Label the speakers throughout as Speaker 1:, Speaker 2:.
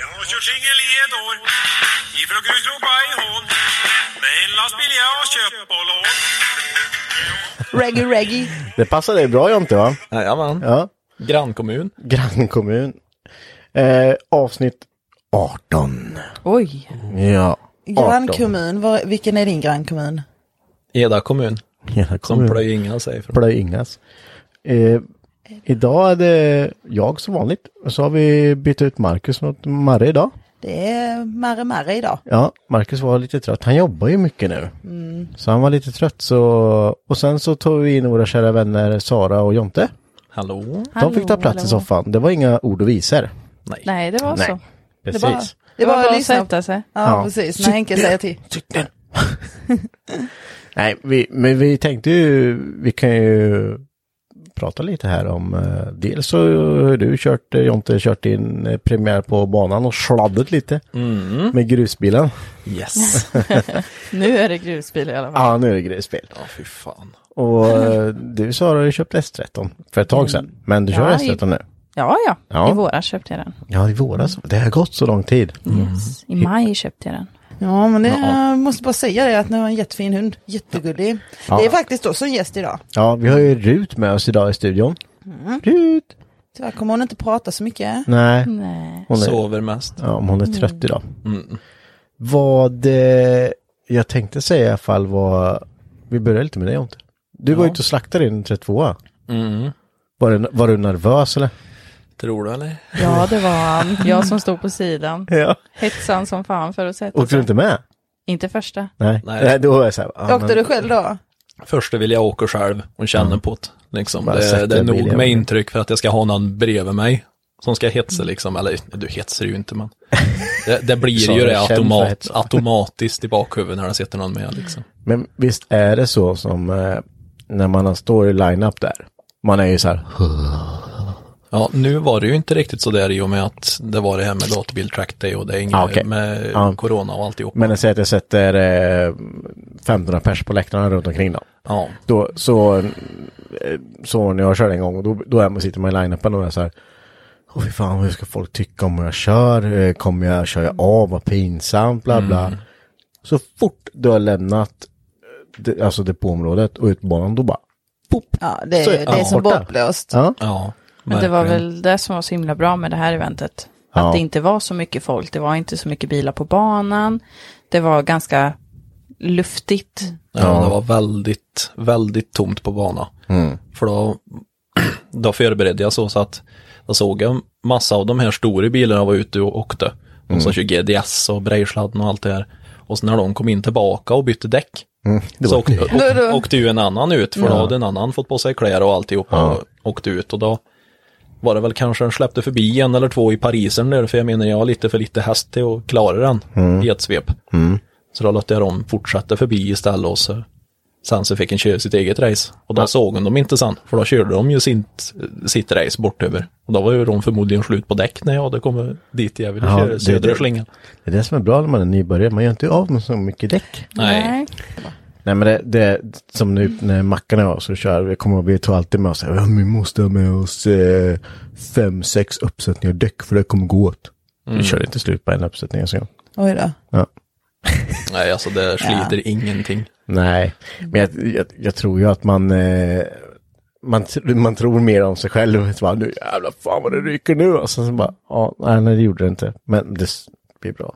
Speaker 1: Jag har kört singel i ett år ifrån Grusropa i Hån med en lastbil jag har köpt på lån.
Speaker 2: Reggae, reggae.
Speaker 3: Det passar dig bra Jonte va?
Speaker 4: Jajamän.
Speaker 3: Ja.
Speaker 4: Grannkommun.
Speaker 3: Grannkommun. Eh, avsnitt 18.
Speaker 2: Oj.
Speaker 3: Ja. 18.
Speaker 2: Grannkommun, var, vilken är din grannkommun?
Speaker 4: Eda kommun.
Speaker 3: Hela
Speaker 4: Som
Speaker 3: kommunen.
Speaker 4: Plöjinga säger från.
Speaker 3: Plöjingas. Eh, idag är det jag som vanligt. Och så har vi bytt ut Marcus mot Marre idag.
Speaker 2: Det är Marre Marre idag.
Speaker 3: Ja, Marcus var lite trött. Han jobbar ju mycket nu. Så han var lite trött så... Och sen så tog vi in våra kära vänner Sara och Jonte.
Speaker 4: Hallå?
Speaker 3: De fick ta plats
Speaker 5: hallå.
Speaker 3: i soffan. Det var inga ord och visor.
Speaker 5: Nej, det var så.
Speaker 3: Precis.
Speaker 5: bara- Det
Speaker 2: var
Speaker 5: var liksom- bara att
Speaker 2: lyssna-
Speaker 5: sätta sig.
Speaker 2: Ja,
Speaker 3: Ja.
Speaker 2: precis. När Henke säger till.
Speaker 3: Sitt ner. Nej, vi, men vi tänkte ju, vi kan ju prata lite här om, eh, dels så har du kört, eh, Jonte, kört din eh, premiär på banan och sladdat lite med grusbilen.
Speaker 4: Yes.
Speaker 5: Nu är det grusbil i alla fall.
Speaker 3: Ja, nu är det grusbil.
Speaker 4: Ja, fy fan.
Speaker 3: Och eh, Mm. du Sara har ju köpt S13 för ett tag sedan, men du kör
Speaker 5: Ja,
Speaker 3: S13 nu.
Speaker 5: Ja, ja.
Speaker 3: Ja.
Speaker 5: I våras köpte jag den.
Speaker 3: Ja, i våras. Det har gått så lång tid.
Speaker 5: Yes. I maj köpte jag den.
Speaker 2: Ja, men det, jag måste bara säga det att ni har en jättefin hund. Jättegullig. Det är faktiskt då som gäst idag.
Speaker 3: Ja, vi har ju Rut med oss idag i studion. Mm. Rut!
Speaker 2: Tyvärr kommer hon inte prata så mycket.
Speaker 3: Nej,
Speaker 5: Nej.
Speaker 3: hon är
Speaker 4: Sover mest.
Speaker 3: Ja, om hon
Speaker 2: Mm.
Speaker 3: är trött idag. Vad eh, jag tänkte säga i alla fall var, vi börjar lite med dig Jonte. Du var ute och slaktade din 32a. Var, du- var du nervös eller?
Speaker 4: Tror du eller?
Speaker 5: Ja, det var han. Jag som stod på sidan.
Speaker 3: Ja.
Speaker 5: Hetsan som fan för att sätta
Speaker 3: Åkte du
Speaker 5: sig.
Speaker 3: inte med?
Speaker 5: Inte första.
Speaker 3: Nej.
Speaker 4: Nej.
Speaker 3: Nej, då var jag så här, ah, ja,
Speaker 2: Åkte du själv då?
Speaker 4: Först vill jag åka själv och känna på det. Liksom.
Speaker 3: Mm. Bara
Speaker 4: Det,
Speaker 3: sätta
Speaker 4: det är nog
Speaker 3: bilen.
Speaker 4: med intryck för att jag ska ha någon bredvid mig som ska
Speaker 3: Mm.
Speaker 4: hetsa liksom. Eller du hetsar ju inte men. Det, det blir
Speaker 3: Sara
Speaker 4: ju
Speaker 3: är
Speaker 4: det
Speaker 3: känd för
Speaker 4: automat,
Speaker 3: hets.
Speaker 4: automatiskt i bakhuvudet när det sitter någon med liksom.
Speaker 3: Men visst är det så som eh, när man står i line-up där. Man är ju så här,
Speaker 4: Ja, nu var det ju inte riktigt så där i och med att det var det här med gatubil track day och det är inget
Speaker 3: Ja, Ah, okej.
Speaker 4: med
Speaker 3: Ja.
Speaker 4: corona och alltihop.
Speaker 3: men säg att jag sätter eh, 1500 pers på läktarna runt omkring dem.
Speaker 4: Ja.
Speaker 3: Då, så, eh, så när jag körde en gång, och då, då är man, sitter man i line-upen och är så här, åh fy fan, hur ska folk tycka om hur jag kör? Eh, Kommer jag köra av? Vad pinsamt, bla bla.
Speaker 2: Mm.
Speaker 3: Så fort du har lämnat eh, det- alltså depåområdet och ut på banan, då bara, pop.
Speaker 2: Ja, det,
Speaker 3: Så är
Speaker 2: är det är
Speaker 3: han
Speaker 2: som
Speaker 3: borta.
Speaker 2: bortblåst.
Speaker 3: Ja,
Speaker 4: Ja,
Speaker 5: Men det var
Speaker 4: verkligen.
Speaker 5: väl det som var så himla bra med det här eventet.
Speaker 3: Ja.
Speaker 5: Att det inte var så mycket folk. Det var inte så mycket bilar på banan. Det var ganska luftigt.
Speaker 4: Ja, det var väldigt, väldigt tomt på bana. För då, då förberedde jag så, så att då såg jag massa av de här stora bilarna var ute och åkte. De som kör GDS och Brejsladden och allt det här. Och sen när de kom in tillbaka och bytte däck så åkte, å- åkte ju en annan ut, för då hade en annan fått på sig kläder och alltihop och åkte ut. Och då,
Speaker 2: var det väl kanske den släppte förbi en eller två i Parisen där, för jag menar jag har lite för lite häst till att klara den
Speaker 3: Mm.
Speaker 2: i ett svep. Så då låter jag dem fortsätta förbi istället och så, sen så fick han köra sitt eget race. Och då såg hon dem inte sen, för då körde de ju sitt, sitt race bortöver. Och då var ju de förmodligen slut på däck när jag hade kommit dit jag ville
Speaker 3: Ja,
Speaker 2: köra
Speaker 3: det-
Speaker 2: södra
Speaker 3: det-
Speaker 2: slingan.
Speaker 3: Det är det som är bra när man är nybörjare, man gör inte av med så mycket däck.
Speaker 2: Nej.
Speaker 3: Nej men det, det som nu när Mackan och jag så kör, vi kommer ihåg, vi tar alltid med oss, ja, vi måste ha med oss eh, fem, sex uppsättningar däck för det kommer gå åt. Vi körde inte slut på en uppsättning ens en gång.
Speaker 5: Oj då.
Speaker 3: Ja.
Speaker 2: Nej, alltså det sliter ingenting.
Speaker 3: Nej, men jag, jag, jag tror ju att man, eh, man, tr- man tror mer om sig själv. Så bara, nu jävlar fan vad det ryker nu. Och sen så bara, ja, nej, nej det gjorde det inte. Men det s- blir bra.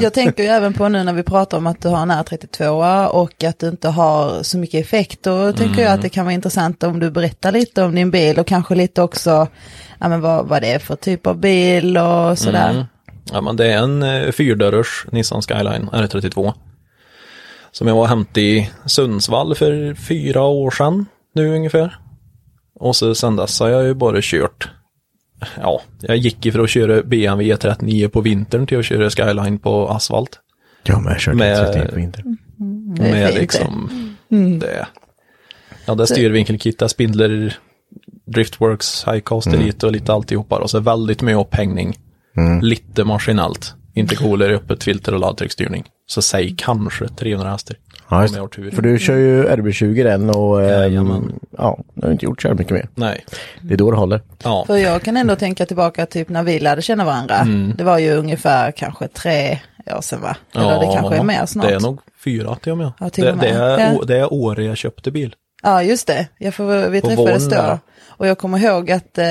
Speaker 5: Jag tänker ju även på nu när vi pratar om att du har en R32 och att du inte har så mycket effekt. Då tänker jag att det kan vara intressant om du berättar lite om din bil och kanske lite också ja, men vad, vad det är för typ av bil och sådär.
Speaker 2: Ja, men det är en eh, fyrdörrars Nissan Skyline R32. Som jag var och hämtade i Sundsvall för fyra år sedan nu ungefär. Och så sen dess har jag ju bara kört. Ja, jag gick ifrån att köra BMW 39 E på vintern till att köra Skyline på asfalt.
Speaker 3: Ja, men eh, jag körde
Speaker 2: Med-
Speaker 3: inte 31 på vintern.
Speaker 5: Det är
Speaker 2: med
Speaker 5: fint
Speaker 2: liksom
Speaker 5: Mm.
Speaker 2: det. Ja, det är styrvinkelkittar, spindlar, driftworks, highcast elite och lite alltihopa. Och så väldigt mycket upphängning. Mm. Lite maskinellt. Inte cooler öppet filter och laddtrycksstyrning. Så säg kanske 300 hästar.
Speaker 3: Ja, just,
Speaker 2: jag har tur.
Speaker 3: för du kör ju RB20 den och ehm,
Speaker 2: Jajamän.
Speaker 3: ja, du har inte gjort så här mycket mer.
Speaker 2: Nej.
Speaker 3: Det är då det håller.
Speaker 2: Ja.
Speaker 5: För jag kan ändå tänka tillbaka typ när vi lärde känna varandra.
Speaker 2: Mm.
Speaker 5: Det var ju ungefär kanske tre år sedan va? Eller det kanske är mer snart.
Speaker 2: Det är nog fyra till och med.
Speaker 5: Ja, till
Speaker 2: det,
Speaker 5: och
Speaker 2: det,
Speaker 5: med.
Speaker 2: är,
Speaker 5: Ja.
Speaker 2: å- det är året jag köpte bil.
Speaker 5: Ja, just det. Jag får, vi
Speaker 2: På
Speaker 5: träffades
Speaker 2: våren,
Speaker 5: då.
Speaker 2: ja.
Speaker 5: Och jag kommer ihåg att eh,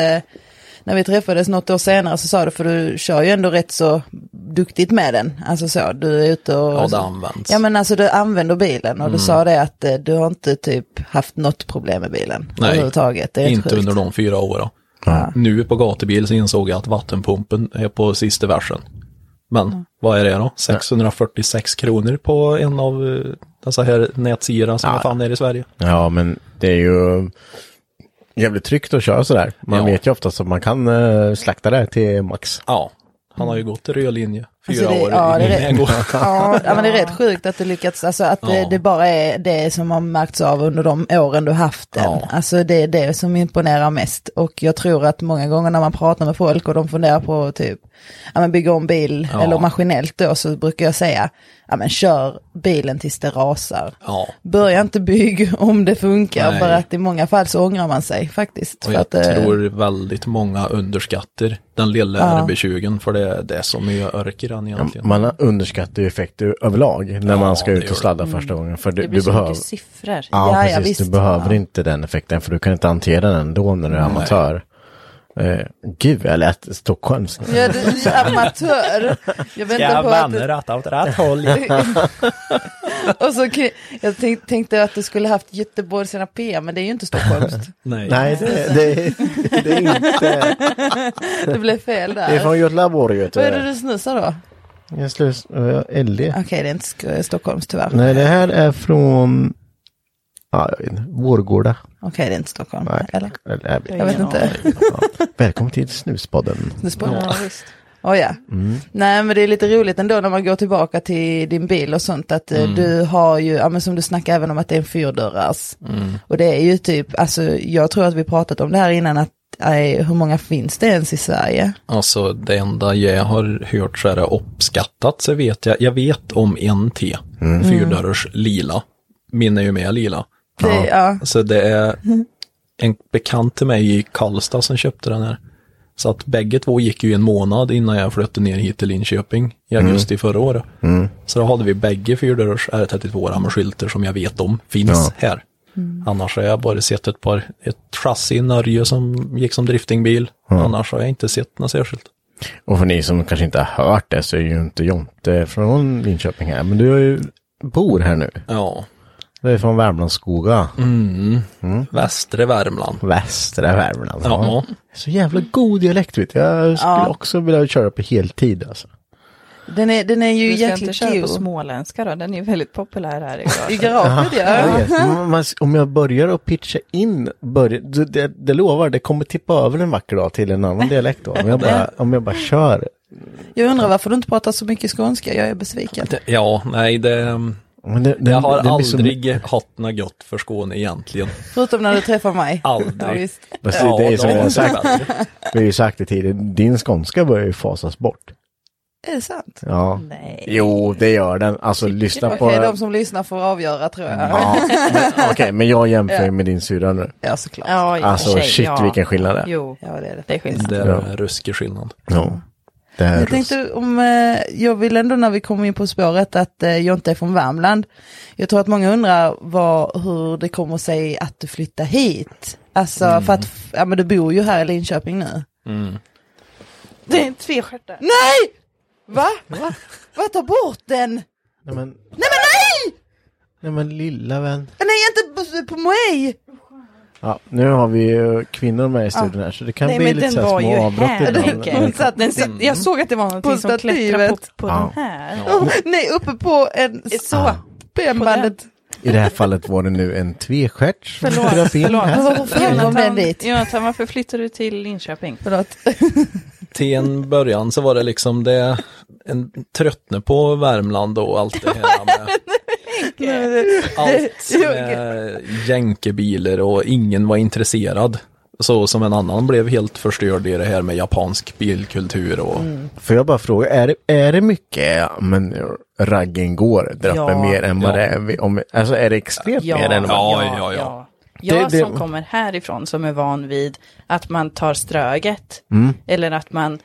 Speaker 5: när vi träffades något år senare så sa du, för du kör ju ändå rätt så duktigt med den. Alltså så, du är ute och...
Speaker 2: Ja, det Mm. används.
Speaker 5: Ja, men alltså du använder bilen och du sa det att eh, du har inte typ haft något problem med bilen
Speaker 2: Nej,
Speaker 5: överhuvudtaget. Det är
Speaker 2: Inte
Speaker 5: sjukt.
Speaker 2: under de fyra åren. Nu på gatubil så insåg jag att vattenpumpen är på sista versen. Men
Speaker 5: Mm.
Speaker 2: vad är det då? 646 kronor på en av eh, dessa här nätsidorna som jag fann nere i Sverige.
Speaker 3: Ja, men det är ju jävligt tryggt att köra sådär. Man
Speaker 2: Ja.
Speaker 3: vet ju oftast att man kan eh, slakta det till max.
Speaker 2: Ja, han har ju gått i röd linje. Fyra
Speaker 5: Alltså, det-
Speaker 2: år
Speaker 5: ja,
Speaker 2: i
Speaker 5: det är-
Speaker 2: min ägo.
Speaker 5: Ja, ja, men det är rätt sjukt att du lyckats, alltså att det,
Speaker 2: Ja.
Speaker 5: det bara är det som har märkts av under de åren du haft den.
Speaker 2: Ja.
Speaker 5: Alltså det är det som imponerar mest. Och jag tror att många gånger när man pratar med folk och de funderar på typ, ja men bygga om bil
Speaker 2: Ja.
Speaker 5: eller maskinellt då, så brukar jag säga, ja men kör bilen tills det rasar.
Speaker 2: Ja,
Speaker 5: Börja inte bygg om det funkar,
Speaker 2: Nej.
Speaker 5: för att i många fall så ångrar man sig faktiskt.
Speaker 2: och
Speaker 5: för
Speaker 2: jag
Speaker 5: att, eh,
Speaker 2: tror väldigt många underskattar den lilla RB20, för det, det är så mycket örk i den egentligen.
Speaker 3: Man underskattar ju effekter överlag när
Speaker 2: Ja,
Speaker 3: man ska
Speaker 2: det
Speaker 3: ut
Speaker 2: gör
Speaker 3: och sladda första gången. För du,
Speaker 6: Det blir
Speaker 3: du
Speaker 6: så
Speaker 3: behöver...
Speaker 6: mycket siffror.
Speaker 3: Ja,
Speaker 5: Ja, ja,
Speaker 3: precis. du
Speaker 5: visst.
Speaker 3: behöver
Speaker 5: Ja.
Speaker 3: inte den effekten för du kan inte hantera den ändå när du är amatör. Eh, gud, jag lät stockholmsk.
Speaker 5: Ja, du du är amatör. Jag väntar på att
Speaker 2: ratta åt rätt håll?
Speaker 5: Och så, kri- jag tänk, tänkte att du skulle haft Göteborg sina P, men det är ju inte stockholmskt.
Speaker 2: Nej.
Speaker 3: Nej, det, det, det är inte.
Speaker 5: Det blev fel
Speaker 3: Det är
Speaker 5: där.
Speaker 3: från Göteborg, vet
Speaker 5: Vad är det
Speaker 3: du.
Speaker 5: du snusar då?
Speaker 3: Jag slös, eh, LD.
Speaker 5: Okej, det är inte sk- Stockholms tyvärr. Okej,
Speaker 3: Nej, det här är från... Ja, jag vet inte. Vårgårda.
Speaker 5: det är inte Stockholm.
Speaker 3: Nej,
Speaker 5: Eller?
Speaker 3: eller, eh, jag vet
Speaker 5: Jag vet inte.
Speaker 3: Ja. Välkommen till Snuspodden.
Speaker 5: Snuspodden. Ja, Oh, ja.
Speaker 2: Mm.
Speaker 5: Nej, men det är lite roligt ändå när man går tillbaka till din bil och sånt att
Speaker 2: Mm.
Speaker 5: eh, du har ju, ja, men som du snackar även om att det är en fyrdörrars.
Speaker 2: Mm.
Speaker 5: Och det är ju typ, alltså jag tror att vi pratat om det här innan att eh, hur många finns det ens i Sverige?
Speaker 2: Alltså det enda jag har hört så är det uppskattat så vet jag, jag vet om en T, Mm. fyrdörrars lila. Min är ju med lila.
Speaker 5: Det, ja.
Speaker 2: Så det är en bekant till mig i Karlstad som köpte den här. Så att bägge två gick ju en månad innan jag flyttade ner hit till Linköping i
Speaker 3: Mm.
Speaker 2: augusti förra året. Så då hade vi bägge fyrdörrars R32 med skyltar som jag vet om finns här. Annars har jag bara sett ett par, ett chassi i Norge som gick som driftingbil. Annars har jag inte sett något särskilt.
Speaker 3: Och för ni som kanske inte har hört det så är ju inte Jonte från Linköping här. Men du är ju, bor här nu.
Speaker 2: Ja, Mm.
Speaker 3: Du är från Värmlandsskoga. Mm.
Speaker 2: västra Värmland.
Speaker 3: Västra Värmland.
Speaker 2: Ja.
Speaker 3: Så jävla god dialekt vet du. Jag skulle också vilja köra på heltid alltså.
Speaker 2: Den är, den är ju
Speaker 5: Du ska inte
Speaker 2: jäkligt
Speaker 5: köra på
Speaker 2: cute.
Speaker 5: småländska då, den är ju väldigt populär här i
Speaker 2: I
Speaker 5: garaget.
Speaker 2: garaget
Speaker 3: Jag
Speaker 2: ja.
Speaker 3: vet, men man- Om jag börjar att pitcha in, börja, det, det, det lovar, det kommer tippa över en vacker dag till en annan dialekt då. Om jag bara, om jag bara kör.
Speaker 2: Jag undrar varför du inte pratar så mycket skånska, jag är besviken.
Speaker 4: Det- Ja, nej, det,
Speaker 3: Men det, det,
Speaker 4: jag har
Speaker 3: det blir så-
Speaker 4: aldrig haft något gott för Skåne egentligen.
Speaker 2: Förutom när du träffar mig.
Speaker 4: Aldrig.
Speaker 2: Ja, visst.
Speaker 3: Fast det- det är som
Speaker 4: de-
Speaker 3: jag har sagt. Vi har ju sagt det tidigare, din skånska börjar ju fasas bort.
Speaker 2: Är det sant?
Speaker 3: Ja.
Speaker 5: Nej.
Speaker 3: Jo, det gör den. Alltså lyssna
Speaker 2: Okej,
Speaker 3: på...
Speaker 2: de som lyssnar får avgöra tror jag.
Speaker 3: Ja, men- Okej, men jag jämför ju med din syrra nu.
Speaker 2: Ja, såklart.
Speaker 5: Ja, i och för
Speaker 3: Alltså
Speaker 5: sig,
Speaker 3: shit
Speaker 5: ja.
Speaker 3: vilken skillnad det är.
Speaker 5: Jo,
Speaker 2: Ja, det är det.
Speaker 5: det är skillnad.
Speaker 4: Det är en ruskig skillnad.
Speaker 3: Ja. Det är
Speaker 2: Jag tänkte om, eh, jag vill ändå när vi kommer in på spåret att eh, jag inte är från Värmland. Jag tror att många undrar vad, hur det kommer sig att du flyttar hit. Alltså för att, f- ja men du bor ju här i Linköping nu.
Speaker 5: Det är en tvestjärta.
Speaker 2: Nej! Va? Va? Va? Ta bort den!
Speaker 3: Nej men,
Speaker 2: Nej men nej!
Speaker 3: nej men lilla vän.
Speaker 2: Nej inte på- på mig!
Speaker 3: Ja, nu har vi ju kvinnor med i studion här så det kan
Speaker 5: Nej,
Speaker 3: bli
Speaker 5: men
Speaker 3: lite
Speaker 5: den
Speaker 3: så här
Speaker 5: var
Speaker 3: små
Speaker 5: ju
Speaker 3: avbrott
Speaker 5: här.
Speaker 3: ibland.
Speaker 5: Den satt, den satt, jag såg att det var någonting som klättrade på,
Speaker 2: stativet.
Speaker 5: på
Speaker 3: Ja.
Speaker 5: den här.
Speaker 2: Nej uppe på en, så, benbandet.
Speaker 3: I det här fallet var det nu en tvestjärt som dröp in
Speaker 5: förlåt.
Speaker 3: här.
Speaker 2: Men varför kom den dit?
Speaker 5: Jonathan, varför flyttade du till Linköping?
Speaker 2: Förlåt.
Speaker 4: Till en början så var det liksom det, en tröttne på Värmland och allt det här med allt med jänkebilar och ingen var intresserad. Så som en annan blev helt förstörd i det här med japansk bilkultur och
Speaker 3: Får jag bara fråga, är det, är det mycket ja, men, raggen går där uppe
Speaker 5: Ja.
Speaker 3: mer än vad
Speaker 4: Ja.
Speaker 3: det är? vi- Om, alltså är det extremt mer än vad
Speaker 4: Ja, ja, ja.
Speaker 5: Jag
Speaker 3: Det- det-
Speaker 5: som kommer härifrån som är van vid att man tar ströget
Speaker 2: Mm.
Speaker 5: eller att man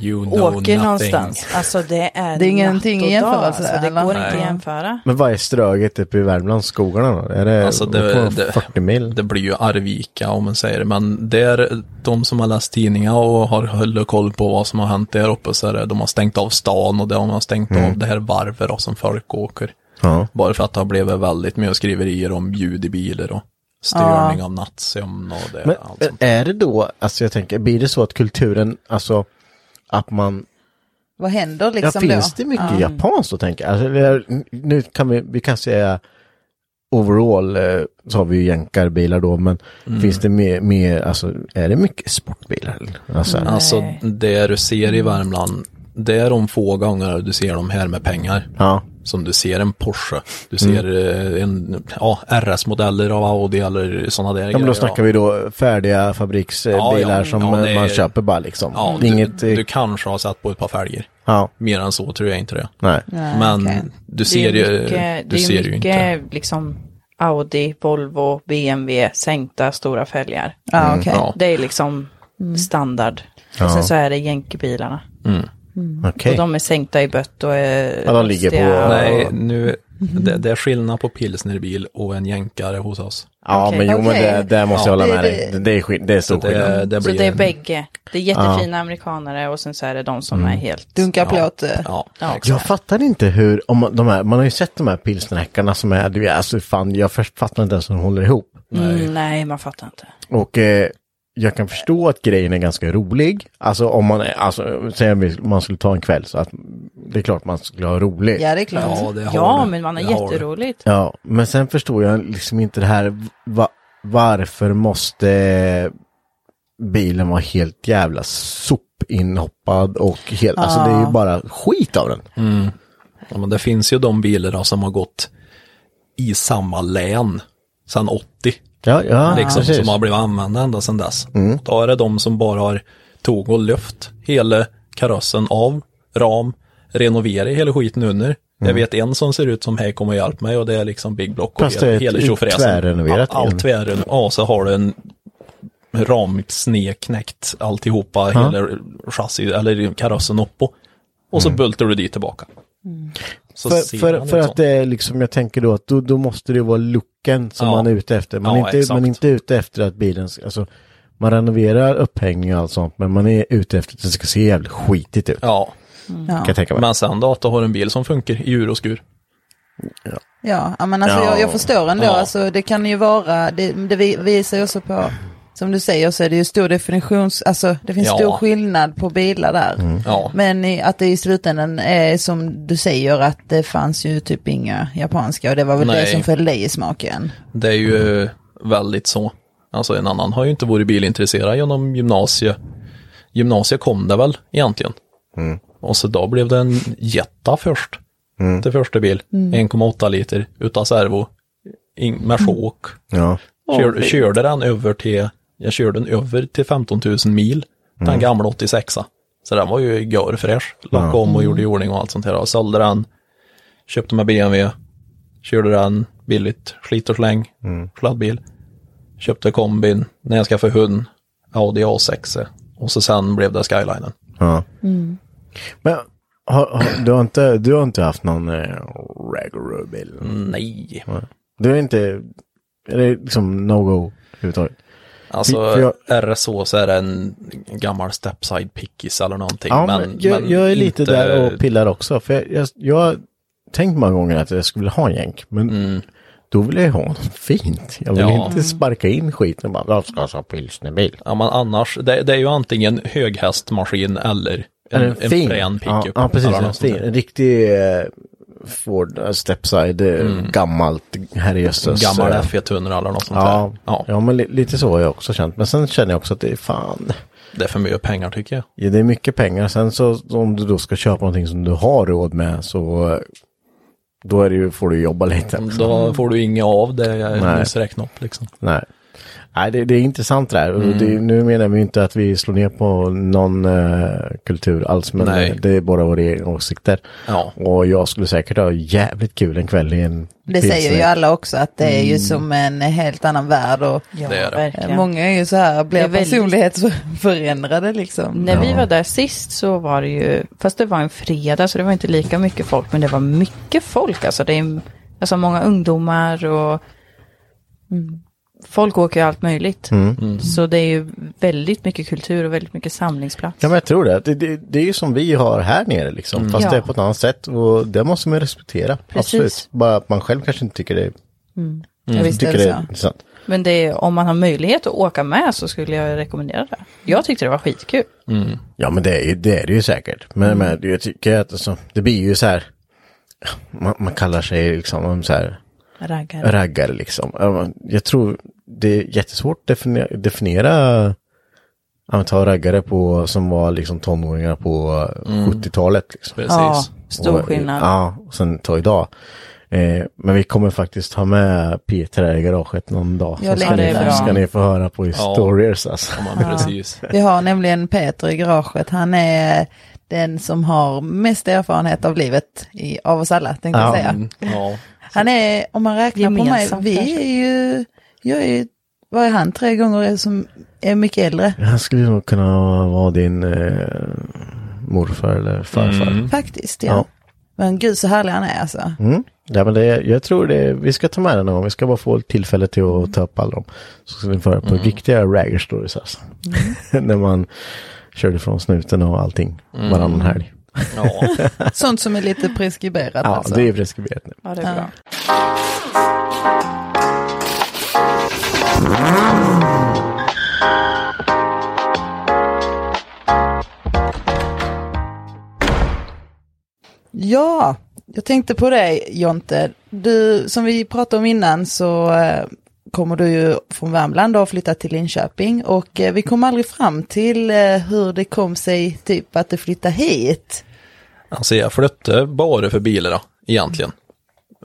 Speaker 4: you know
Speaker 5: åker
Speaker 4: nothing.
Speaker 5: någonstans. Alltså det är,
Speaker 2: Det är ingenting
Speaker 5: natt och
Speaker 2: i jämförelse,
Speaker 5: dag, alltså, det
Speaker 2: eller?
Speaker 5: går inte
Speaker 4: Nej.
Speaker 5: att jämföra.
Speaker 3: Men vad är ströget uppe i Värmlands skogarna då? Är det,
Speaker 4: Alltså, det-
Speaker 3: det,
Speaker 4: det-
Speaker 3: 40 mil?
Speaker 4: Det blir ju Arvika om man säger det, men där, de som har läst tidningar och har håller koll på vad som har hänt där uppe så är det, de har stängt av stan och de har stängt av det här varvet då, som folk åker.
Speaker 3: Mm. ja.
Speaker 4: Bara för att det har blivit väldigt mycket skriverier om ljud i bilar och störning av nattsömn och det.
Speaker 3: Men
Speaker 4: allt sånt.
Speaker 3: är det då, alltså jag tänker, blir det så att kulturen, alltså att man
Speaker 2: Vad händer
Speaker 3: Ja,
Speaker 2: liksom
Speaker 3: finns
Speaker 2: då?
Speaker 3: det mycket japanskt att tänka? Alltså, vi har- nu kan vi, vi kan säga overall, eh, så har vi ju jänkarbilar då, men
Speaker 4: Mm.
Speaker 3: finns det mer, mer, alltså är det mycket sportbilar? Alltså,
Speaker 5: Mm.
Speaker 4: Alltså det du ser i Värmland, det är de få gånger du ser de här med pengar.
Speaker 3: ja.
Speaker 4: Som du ser en Porsche, du
Speaker 3: Mm.
Speaker 4: ser eh, en, ja, RS-modeller av Audi eller sådana där
Speaker 3: ja, men då snackar vi då färdiga fabriksbilar
Speaker 4: Ja, ja.
Speaker 3: som
Speaker 4: Ja,
Speaker 3: eh,
Speaker 4: det är-
Speaker 3: man köper bara liksom.
Speaker 4: Ja,
Speaker 3: Det är Inget,
Speaker 4: du,
Speaker 3: eh,
Speaker 4: du kanske har satt på ett par fälgar.
Speaker 3: ja,
Speaker 4: Mer än så tror jag inte det.
Speaker 3: nej.
Speaker 4: Men
Speaker 2: okej.
Speaker 4: du
Speaker 5: Det
Speaker 4: ser
Speaker 5: är
Speaker 4: ju,
Speaker 5: mycket,
Speaker 4: du
Speaker 5: det är
Speaker 4: ser ju inte.
Speaker 5: mycket liksom Audi, Volvo, BMW, sänkta stora fälgar.
Speaker 2: Ja, Ah, okej.
Speaker 4: Mm,
Speaker 2: Mm.
Speaker 4: Ja.
Speaker 5: Det är liksom standard. Och sen så är det jänkebilarna.
Speaker 3: Okej.
Speaker 5: Och de är sänkta i bött och eh, är
Speaker 3: Ja, de ligger på-
Speaker 5: rostiga.
Speaker 4: Nej, nu,
Speaker 5: Mhm.
Speaker 4: det, det är skillnad på pilsnerbil och en jänkare hos oss.
Speaker 3: Ja,
Speaker 5: okej.
Speaker 3: men jo, men
Speaker 2: Okej.
Speaker 3: det, där måste jag
Speaker 2: Ja.
Speaker 3: hålla med
Speaker 2: Det-
Speaker 3: dig. Det, det är, skill- det är stor skillnad.
Speaker 4: Det, det
Speaker 5: Så
Speaker 4: blir
Speaker 5: det är
Speaker 4: en-
Speaker 5: bägge. Det är jättefina amerikanare och sen så är det de som
Speaker 3: Mm.
Speaker 5: är helt...
Speaker 2: Dunkar plåt. eh.
Speaker 4: Ja,
Speaker 3: Jag fattar inte hur, om man- de här, man har ju sett de här pilsnerhäckarna som är, du vet, alltså fan, jag först- fattar inte ens hur de håller ihop.
Speaker 5: Mm, nej, man fattar inte.
Speaker 3: Och eh, jag kan förstå att grejen är ganska rolig. Alltså om man, är- alltså, säg om vi- man skulle ta en kväll så att det är klart man skulle ha roligt.
Speaker 2: Ja, det är klart.
Speaker 4: Ja, det har
Speaker 5: ja,
Speaker 4: du.
Speaker 5: men man har
Speaker 4: Det har du.
Speaker 5: jätteroligt.
Speaker 3: Ja, men sen förstår jag liksom inte det här, va, varför måste bilen vara helt jävla sopinhoppad och helt, alltså det är ju bara skit av den.
Speaker 4: Ja, men det finns ju de bilar då som har gått i samma län sedan 80.
Speaker 3: Ja, ja,
Speaker 4: liksom,
Speaker 3: precis.
Speaker 4: som har blivit använda ända sedan dess. Då är det de som bara har tog och lyft hela karossen av ram, renovera hela skiten under. Jag vet en som ser ut som hej kom och hjälp mig och det är liksom Big Block och
Speaker 3: Fast det är
Speaker 4: hela, hela
Speaker 3: ett
Speaker 4: tjofräsen.
Speaker 3: tvärrenoverat
Speaker 4: Ja,
Speaker 3: igen.
Speaker 4: allt tvärren. Ja, så har du en ramsneknäckt alltihopa, hela chassi eller karossen uppå. Och så bultar du dit tillbaka. Så
Speaker 3: Mm. För,
Speaker 4: ser
Speaker 3: för,
Speaker 4: man
Speaker 3: för
Speaker 4: ut
Speaker 3: att
Speaker 4: sånt.
Speaker 3: det är liksom, jag tänker då att då, då måste det vara looken som
Speaker 4: Ja.
Speaker 3: man är ute efter. Man,
Speaker 4: Ja,
Speaker 3: är inte,
Speaker 4: exakt.
Speaker 3: man är inte ute efter att bilen, ska- alltså man renoverar upphängning och allt sånt, men man är ute efter att det ska se jävligt skitigt ut.
Speaker 4: Ja,
Speaker 3: Kan jag tänka mig.
Speaker 4: men sen då att du har en bil som funkar i ur och skur.
Speaker 2: Ja, ja, men alltså
Speaker 3: Ja.
Speaker 2: Jag, jag förstår ändå.
Speaker 4: Ja.
Speaker 2: Alltså, det kan ju vara, det, det vi- visar ju också på
Speaker 5: som du säger så är det ju stor definitions, alltså det finns
Speaker 2: Ja. Mm.
Speaker 5: stor skillnad på bilar där.
Speaker 2: Ja.
Speaker 5: Men i, att det i slutändan är som du säger att det fanns ju typ inga japanska och det var väl det
Speaker 2: Nej.
Speaker 5: som föll dig i smaken.
Speaker 2: Det är ju eh, väldigt så. Alltså en annan har ju inte varit bilintresserad genom gymnasiet. Gymnasiet kom det väl egentligen.
Speaker 3: Mm.
Speaker 2: Och så då blev det en Jetta först. Det första bil. 1,8 liter utan servo. In, med chock.
Speaker 3: Ja.
Speaker 2: Kör, körde den över till, jag körde den över till 15 000 mil. Den gamla 86 Så den var ju görfräsch. Lackade om och gjorde i ordning och allt sånt här. Och sålde den. Köpte med BMW. Körde den billigt. Slit och släng. Sladdbil. Köpte kombin. När jag skaffade hund. Audi A6. Och så sen blev det Skylinen.
Speaker 3: ja. Men har, har, du, har inte, du har inte haft någon eh, regular bil?
Speaker 2: Nej.
Speaker 3: Du är inte, är det liksom no-go överhuvudtaget?
Speaker 2: Alltså
Speaker 3: För jag-
Speaker 2: är det så så är det en gammal stepside pickis eller någonting.
Speaker 3: Ja,
Speaker 2: men,
Speaker 3: men, jag,
Speaker 2: men
Speaker 3: jag är lite
Speaker 2: inte-
Speaker 3: där och pillar också. För jag, jag, jag har tänkt många gånger att jag skulle vilja ha en jänk. Men då vill jag ju ha något fint. Jag vill
Speaker 2: Mm. Ja.
Speaker 3: inte sparka in skiten och bara, jag ska ha pilsnerbil.
Speaker 2: Ja, men annars, det, det är ju antingen höghästmaskin eller en,
Speaker 3: Eller
Speaker 2: en,
Speaker 3: fin.
Speaker 2: frän
Speaker 3: ja,
Speaker 2: pickup.
Speaker 3: ja, precis.
Speaker 2: eller
Speaker 3: En,
Speaker 2: något sånt
Speaker 3: fin,
Speaker 2: där.
Speaker 3: en riktig eh, Ford eh, Stepside, eh, gammalt, herrejösses.
Speaker 2: Mm. Gammal
Speaker 3: eh,
Speaker 2: F100 eller något sånt
Speaker 3: Ja,
Speaker 2: där.
Speaker 3: ja.
Speaker 2: Ja,
Speaker 3: men li, lite så har jag också känt. Men sen känner jag också att det är fan,
Speaker 2: det är för mycket pengar tycker jag.
Speaker 3: ja, det är mycket pengar. Sen så om du då ska köpa någonting som du har råd med så eh, då är det ju, får du jobba lite.
Speaker 2: Då får du inget av det
Speaker 3: Nej.
Speaker 2: jag nyss räknade upp liksom.
Speaker 3: Nej. Nej, det, det är intressant det här. Och Det,
Speaker 2: Mm.
Speaker 3: nu menar vi ju inte att vi slår ner på någon eh, kultur alls, men
Speaker 2: Nej.
Speaker 3: eh, det är bara våra egna åsikter.
Speaker 2: Ja.
Speaker 3: Och jag skulle säkert ha jävligt kul en kväll i en
Speaker 5: Det säger ju alla också att det är ju som en helt annan värld och Eh,
Speaker 4: Ja,
Speaker 2: Det är
Speaker 4: Mm.
Speaker 2: det.
Speaker 4: verkligen.
Speaker 5: många är ju så här,
Speaker 4: Det
Speaker 5: blir
Speaker 4: är väldigt-
Speaker 5: personlighetsförändrade liksom.
Speaker 4: När vi var där sist så var det ju, fast det var en fredag så det var inte lika mycket folk, men det var mycket folk. Alltså det är alltså många ungdomar och mm, folk åker ju allt möjligt.
Speaker 5: Mm.
Speaker 2: Mm.
Speaker 4: Så det är ju väldigt mycket kultur och väldigt mycket samlingsplats.
Speaker 3: Ja, men jag tror det. Det, det. det är ju som vi har här nere liksom,
Speaker 2: Mm.
Speaker 3: fast
Speaker 4: Ja.
Speaker 3: det är på ett annat sätt. Och det måste man respektera.
Speaker 4: Precis.
Speaker 3: Absolut. Bara att man själv kanske inte tycker det,
Speaker 5: Ja, visst är
Speaker 3: tycker
Speaker 5: Mm. det
Speaker 3: det
Speaker 5: så.
Speaker 3: är intressant.
Speaker 4: Men det är, om man har möjlighet att åka med så skulle jag rekommendera det. Jag tyckte det var skitkul.
Speaker 3: Ja men det är ju det, är det ju säkert. Men,
Speaker 4: Mm.
Speaker 3: men jag tycker att alltså, det blir ju så här. Man, man kallar sig liksom så här
Speaker 4: Raggare.
Speaker 3: raggare liksom. Ja, men Jag tror det är jättesvårt att definiera, definiera ja, men ta raggare på som var liksom tonåringar på 70-talet. Liksom.
Speaker 2: Precis.
Speaker 4: Mm. Ja, stor
Speaker 3: Och-
Speaker 4: skillnad.
Speaker 3: Ja, och sen ta idag. Eh, men vi kommer faktiskt ha med Peter här i garaget någon dag.
Speaker 5: Jag
Speaker 3: Så ska,
Speaker 5: längtar.
Speaker 3: ni,
Speaker 4: Det är bra.
Speaker 3: ska ni få höra på historiers alltså.
Speaker 2: Ja, men precis.
Speaker 5: Vi har nämligen Peter i garaget. Han är den som har mest erfarenhet av livet i, av oss alla, tänkte jag
Speaker 3: Ja.
Speaker 5: säga.
Speaker 2: Mm, Ja.
Speaker 5: Han är, om man räknar på mig,
Speaker 4: Gemensamt
Speaker 5: vi
Speaker 4: kanske.
Speaker 5: är ju, jag är ju, vad är han, tre gånger som är mycket äldre.
Speaker 3: Han skulle nog kunna vara din eh, morfar eller farfar.
Speaker 5: Faktiskt, ja.
Speaker 3: Ja.
Speaker 5: Men gud så härlig han är alltså.
Speaker 3: Mm. Ja, men det, jag tror det, vi ska ta med den någon gång. Vi ska bara få tillfälle till att ta upp alla dem. Så ska ni få höra på riktiga ragger stories alltså. När man körde från snuten och allting varannan helg.
Speaker 2: ja.
Speaker 5: Sånt som är lite preskriberat
Speaker 3: Ja,
Speaker 5: alltså.
Speaker 3: det är preskriberat nu.
Speaker 4: Ja, det är bra.
Speaker 5: Ja, jag tänkte på dig Jonte. Du, som vi pratade om innan så eh, kommer du ju från Värmland och har flyttat till Linköping och eh, vi kom aldrig fram till eh, hur det kom sig typ att du flyttade hit.
Speaker 2: Alltså jag flyttade bara för bilarna egentligen.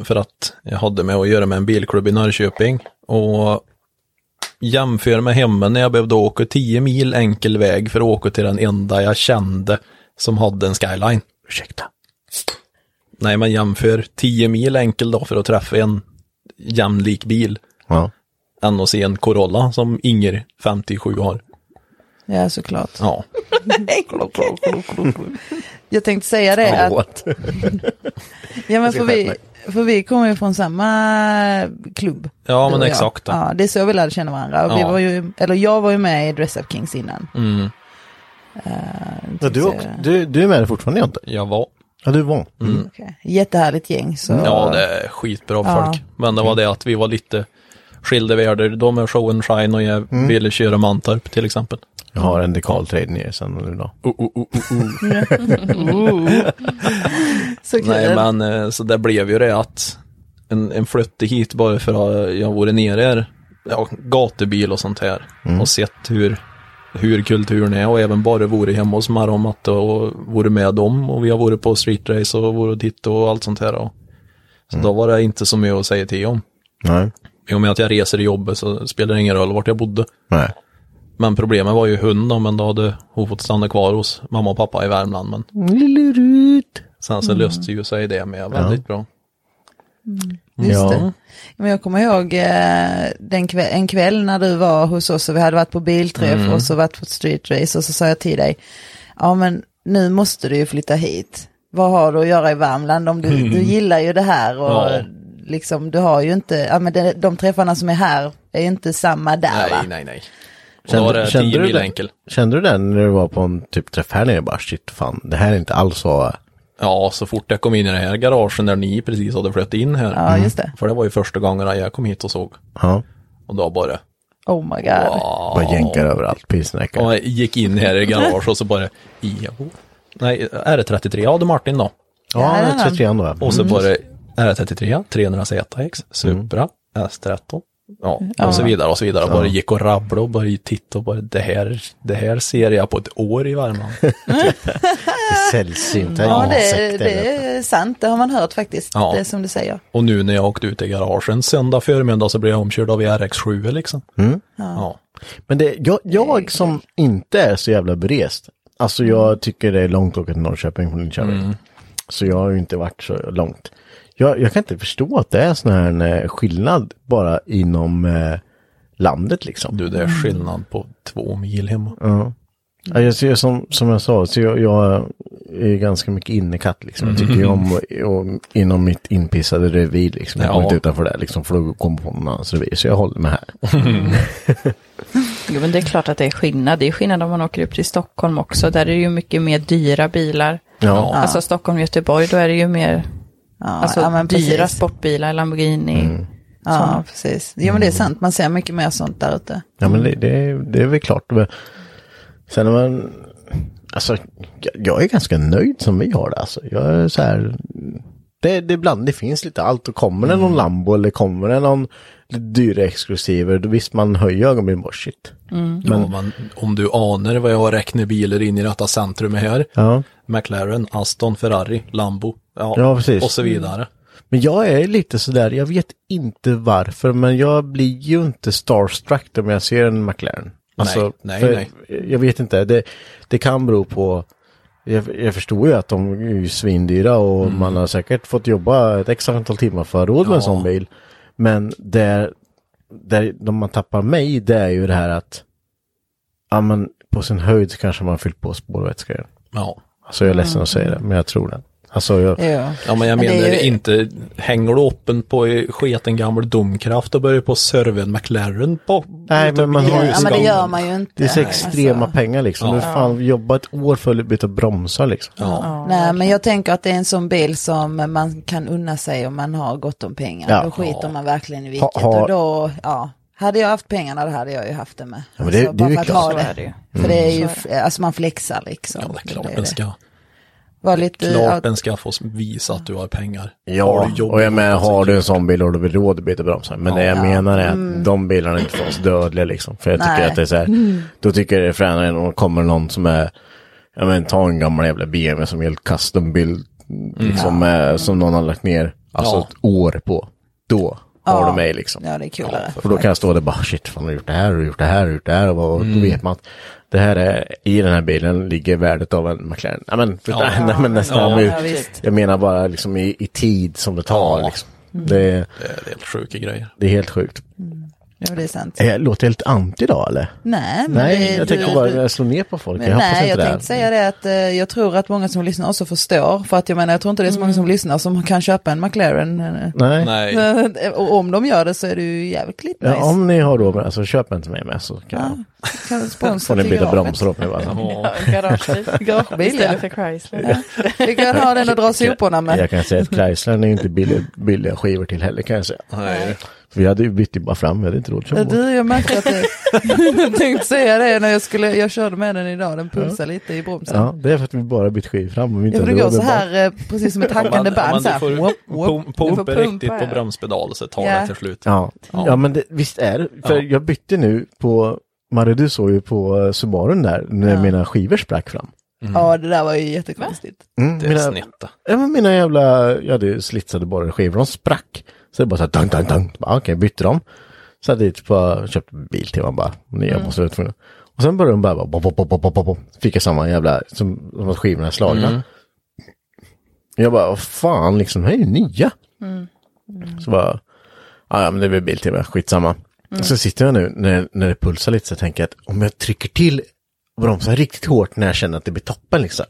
Speaker 2: För att jag hade med att göra med en bilklubb i Norrköping. Och jämför med hemmen när jag behövde åka 10 mil enkel väg för att åka till den enda jag kände som hade en skyline. Ursäkta. Nej, men jämför 10 mil enkel då för att träffa en jämlik bil
Speaker 3: Ja.
Speaker 2: än att se en Corolla som Inger 57 har.
Speaker 5: Ja, såklart.
Speaker 2: Ja,
Speaker 5: Jag tänkte säga det att
Speaker 3: Förlåt.
Speaker 5: Ja men
Speaker 3: ska
Speaker 5: för
Speaker 3: skärpa
Speaker 5: vi, för vi kommer ju från samma klubb.
Speaker 2: ja
Speaker 5: du
Speaker 2: men
Speaker 5: och jag.
Speaker 2: exakt. då.
Speaker 5: Ja, det är så vi lärde känna varandra. Och Vi
Speaker 2: Ja.
Speaker 5: var ju, eller jag var ju med i Dress Up Kings innan.
Speaker 3: Ja, du, och, du, du är med fortfarande Jonte? Mm.
Speaker 2: Jag var
Speaker 3: Ja, du var.
Speaker 2: Mm.
Speaker 5: Okej. Jättehärligt gäng. Så.
Speaker 2: Ja, det är skitbra folk. Men det var det att vi var lite
Speaker 5: skilda världar. De är show and shine och jag ville köra Mantorp till exempel.
Speaker 3: Jag har en dekal trade ner sen nu då.
Speaker 5: Oh, oh, oh, oh, oh.
Speaker 2: Så kul.
Speaker 5: Nej, men eh, så det blev ju det att en, en flytte hit bara för att jag vore nere här, ja, gatubil och sånt här och sett hur, hur kulturen är och även bara vore hemma hos Marre och Matte och vore med dem och vi har varit på streetrace och vore dit och allt sånt här. Och. Så då var det inte så mycket att säga till om.
Speaker 3: Nej.
Speaker 5: I och med att jag reser i jobbet så spelar det ingen roll vart jag bodde.
Speaker 3: Nej.
Speaker 5: Men problemet var ju hunden, men då hade hon fått stanna kvar hos mamma och pappa i Värmland. Men
Speaker 3: Lille Rut. Mm.
Speaker 5: sen så löste ju sig det med väldigt bra.
Speaker 3: ja.
Speaker 2: det. Men jag kommer ihåg eh, den kväll, en kväll när du var hos oss och vi hade varit på bilträff
Speaker 5: Mm.
Speaker 2: och så varit på streetrace och så sa jag till dig, ja men nu måste du ju flytta hit. Vad har du att göra i Värmland om du, du gillar ju det här och
Speaker 5: Mm. Ja.
Speaker 2: liksom du har ju inte, ja men de, de träffarna som är här är ju inte samma där va?
Speaker 5: Nej, nej, nej. Och då var det
Speaker 3: kände
Speaker 5: 10
Speaker 3: du
Speaker 5: mil
Speaker 3: det?
Speaker 5: enkel.
Speaker 3: Kände du den när du var på en typ träff här nere? Bara shit fan, det här är inte alls vad...
Speaker 5: Ja, så fort jag kom in i det här garagen där ni precis hade flyttat in här.
Speaker 2: Ja just det,
Speaker 5: För det var ju första gången jag kom hit Mm. och såg.
Speaker 3: Ja.
Speaker 5: Och då bara,
Speaker 2: oh my god.
Speaker 3: Bara jänkar överallt, pilsnäckar.
Speaker 5: och jag gick in här i garaget och så bara, jo. Nej, R33, ja det är Martin då.
Speaker 3: Ja,
Speaker 2: Där är
Speaker 3: det
Speaker 2: den.
Speaker 3: är 33 då.
Speaker 5: Och
Speaker 2: Mm.
Speaker 5: så bara R33, 300 ZX, Supra,
Speaker 2: Mm.
Speaker 5: S13. Ja, och så vidare och så vidare. Och bara gick och rabblade och bara tittade och bara det här, det här ser jag på ett år i Värmland.
Speaker 3: Mm. Sällsynta
Speaker 2: Ja, det,
Speaker 3: insekter.
Speaker 2: det är sant, det har man hört faktiskt,
Speaker 5: Ja.
Speaker 2: det är som du säger.
Speaker 5: Och nu när jag åkte ut i garagen söndag förmiddag så blev jag omkörd av E RX7 liksom.
Speaker 2: Mm.
Speaker 5: Ja.
Speaker 3: Men det, jag, jag som inte är så jävla berest, alltså jag tycker det är långt att åka till Norrköping från Linköping.
Speaker 5: Mm.
Speaker 3: Så jag har ju inte varit så långt. Jag, jag kan inte förstå att det är sån här eh, skillnad bara inom eh, landet liksom.
Speaker 5: Du, det är skillnad på två mil hemma.
Speaker 3: Ja, jag ser, som, som jag sa, så jag, jag är ganska mycket innekatt liksom. Jag tycker ju om, om inom mitt inpissade revir liksom. Jag går
Speaker 5: Ja.
Speaker 3: inte utanför det liksom, för då kommer jag på någon annans revir. Så jag håller mig här.
Speaker 7: Jo, men det är klart att det är skillnad. Det är skillnad om man åker upp till Stockholm också. Där är det ju mycket mer dyra bilar.
Speaker 3: Ja.
Speaker 7: Alltså Stockholm, Göteborg, då är det ju mer
Speaker 2: Ja,
Speaker 7: alltså,
Speaker 2: ja, men
Speaker 7: dyra
Speaker 2: precis.
Speaker 7: sportbilar, Lamborghini.
Speaker 3: Mm.
Speaker 2: Ja, precis. Jo, men det är sant. Man ser mycket mer sånt där ute.
Speaker 3: Ja, men det, det, det är väl klart. Men Sen när man... Alltså, jag- jag är ganska nöjd som vi har det. Alltså. Jag är så här... Det, det, är ibland, det finns lite allt och kommer det någon Lambo eller kommer det någon lite dyra exklusiver, då visst man höjer ögonbrynen bara shit.
Speaker 2: Mm.
Speaker 5: Ja, men om du anar vad jag räknar bilar in i detta centrum här.
Speaker 3: Ja.
Speaker 5: McLaren, Aston, Ferrari, Lambo. Ja,
Speaker 3: Ja, precis.
Speaker 5: Och så vidare.
Speaker 3: Men jag är lite sådär, jag vet inte varför, men jag blir ju inte starstruck om jag ser en McLaren. Alltså,
Speaker 5: nej,
Speaker 3: för
Speaker 5: nej.
Speaker 3: Jag vet inte, det, det kan bero på jag, jag förstår ju att de är ju svindyra och
Speaker 5: Mm.
Speaker 3: man har säkert fått jobba ett extra antal timmar för att ha råd med en sån bil. Men där, där de man tappar mig, det är ju det här att ja, men på sin höjd så kanske man har fyllt på spårvätskan.
Speaker 5: Ja.
Speaker 3: Alltså jag är ledsen att säga det, men jag tror det. Alltså jag,
Speaker 2: Ja.
Speaker 5: ja, men jag
Speaker 2: Men det
Speaker 5: menar
Speaker 2: är ju-
Speaker 5: inte, hänger du uppen på i sketen gammal domkraft och börjar på serven McLaren på
Speaker 3: Nej, men man har ju...
Speaker 2: ja, men det gör man ju inte. Alltså.
Speaker 3: Det är så extrema pengar liksom. Du fan jobba ett år för att byta bromsar liksom.
Speaker 5: Ja.
Speaker 2: Nej, men jag tänker att det är en sån bil som man kan unna sig om man har gott om pengar.
Speaker 3: Ja.
Speaker 2: Då skiter man verkligen i vilket.
Speaker 3: Ha- ha-
Speaker 2: Och då, ja. Hade jag haft pengarna, då hade jag ju haft det med.
Speaker 3: Ja, men det- det är
Speaker 2: bara
Speaker 3: ju
Speaker 2: för att
Speaker 3: klart.
Speaker 2: ha
Speaker 7: Så
Speaker 2: det.
Speaker 7: är det ju. Mm.
Speaker 2: För det är ju, f- alltså man flexar liksom.
Speaker 5: Ja, det är klart
Speaker 2: ju
Speaker 5: den ska,
Speaker 2: Var lite,
Speaker 5: klart
Speaker 2: ja,
Speaker 5: den ska få visa att du har pengar.
Speaker 3: Ja,
Speaker 5: du jobb
Speaker 3: och jag
Speaker 5: ihop,
Speaker 3: menar
Speaker 5: alltså,
Speaker 3: har du en sån bil har du väl råd att byta bromsar. Men det jag menar är att de bilarna är inte för oss dödliga liksom. För jag tycker
Speaker 2: Mm. Nej. Mm.
Speaker 3: att det är så här, då tycker jag det är fränare än om det kommer någon som är, ja men ta en gammal jävla BMW som är helt custom-bild, liksom, eh, som någon har lagt ner, alltså
Speaker 5: Mm. Ja.
Speaker 3: ett år på. Då har
Speaker 2: Ja.
Speaker 3: du mig liksom.
Speaker 2: ja, det är coolare.
Speaker 3: För då kan jag stå där och bara shit, fan, har gjort det här och gjort det här och gjort det här. Och vad-
Speaker 5: Mm.
Speaker 3: då vet man att det här är, i den här bilen ligger värdet av en McLaren. Ja men, för,
Speaker 5: Ja.
Speaker 3: nej, men nästan.
Speaker 5: Ja,
Speaker 3: men,
Speaker 2: ja, visst.
Speaker 3: jag menar bara liksom i, i tid som det tar
Speaker 5: Ja.
Speaker 3: liksom. Det, är-
Speaker 5: Det är helt sjuka grejer.
Speaker 3: det är helt sjukt.
Speaker 2: Ja, det är sant.
Speaker 3: Eh, Låter jag helt anti idag eller?
Speaker 2: Nej, men
Speaker 3: Nej,
Speaker 2: det,
Speaker 3: jag tänker
Speaker 2: du-
Speaker 3: bara
Speaker 2: du-
Speaker 3: jag slår ner på folk.
Speaker 2: Men
Speaker 3: jag hoppas
Speaker 2: nej,
Speaker 3: inte
Speaker 2: jag
Speaker 3: det.
Speaker 2: tänkte säga det att eh, jag tror att många som lyssnar också förstår. För att jag menar, jag tror inte det är så många som
Speaker 3: Mm.
Speaker 2: lyssnar som kan köpa en McLaren. eh.
Speaker 3: Nej.
Speaker 5: Nej,
Speaker 2: Och om de gör det så är det ju jävligt nice.
Speaker 3: Ja, om ni har råd med det så köp en till mig med så kan
Speaker 2: Kan
Speaker 3: jag, får
Speaker 2: sponsra
Speaker 3: ni
Speaker 2: till
Speaker 3: byta
Speaker 2: garaget.
Speaker 3: bromsar åt mig bara.
Speaker 7: Ja, garagebil.
Speaker 2: Garagebil, ja.
Speaker 7: Istället för Chrysler.
Speaker 2: Vi kan ha den och dra soporna med.
Speaker 3: Jag kan säga att Chrysler är inte billiga, billiga skivor till heller kan jag säga.
Speaker 5: nej.
Speaker 3: Vi hade ju bytt ju bara fram, vi hade inte råd att köra
Speaker 2: Ja,
Speaker 3: båt.
Speaker 2: Du, jag märkte att du... jag tänkte säga det när jag skulle, jag körde med den idag, den pulsar lite i bromsen.
Speaker 3: Ja, det är för att vi bara bytt skiv fram och vi inte
Speaker 2: Ja, för det går
Speaker 3: hade råd
Speaker 2: så
Speaker 3: med band.
Speaker 2: här, eh, precis som ett hackande band. Så
Speaker 4: du
Speaker 2: här.
Speaker 4: får
Speaker 2: Whoop, whoop.
Speaker 4: pum-
Speaker 2: Du får
Speaker 4: pumpa riktigt
Speaker 2: pumpa,
Speaker 4: på
Speaker 2: ja.
Speaker 4: bromspedal så tar
Speaker 2: Ja.
Speaker 4: det till slut.
Speaker 3: Ja,
Speaker 4: Ja.
Speaker 3: ja men det, visst är det. För
Speaker 4: Ja.
Speaker 3: jag bytte nu på, Marre du såg ju på eh, Subarun där, när
Speaker 2: Ja.
Speaker 3: mina skivor sprack fram.
Speaker 2: Ja, det där var ju jättekonstigt.
Speaker 3: Mm,
Speaker 4: Det är
Speaker 3: mina,
Speaker 4: snett. det.
Speaker 3: ja, men mina jävla, jag hade ju slitsade borrskivor, de sprack. Så det bara så här, dang, dang, dang. Bara, Okej, bytte dem. Så hade jag dit, bara, köpte bil till man bara, nya måste jag vara tvungen. Och sen började de bara, bara bop, bop, bop, bop, bop, bop, bop. Fick jag samma jävla, som, som att skivorna är slagna. Jag bara, vad fan liksom, de här är ju nya. Mm. Så bara, ja ja, men det blir Biltema, skitsamma. Så sitter jag nu när, när det pulsar lite så tänker jag att om jag trycker till och bromsar riktigt hårt när jag känner att det blir toppen liksom.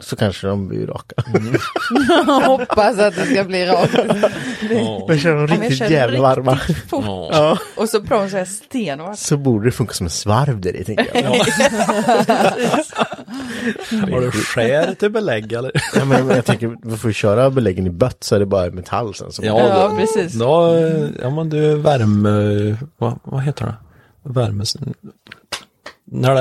Speaker 3: Så kanske de blir raka.
Speaker 2: Hoppas att det ska bli rakt.
Speaker 3: Men kör de
Speaker 5: men jag
Speaker 3: riktigt
Speaker 5: känner
Speaker 3: jävla
Speaker 5: riktigt
Speaker 3: varma
Speaker 5: fort.
Speaker 3: Ja.
Speaker 5: Och så bromsar jag stenhårt.
Speaker 3: så borde det funka som en svarv där i tänker jag.
Speaker 4: Har du skär till belägg eller?
Speaker 3: Ja, men, men jag tänker, man får ju köra beläggen i bött så är det bara metall sen. Så
Speaker 4: Ja,
Speaker 5: Ja,
Speaker 4: då,
Speaker 5: precis.
Speaker 4: Då, eh, ja men du värme, vad, vad heter det? Värme... När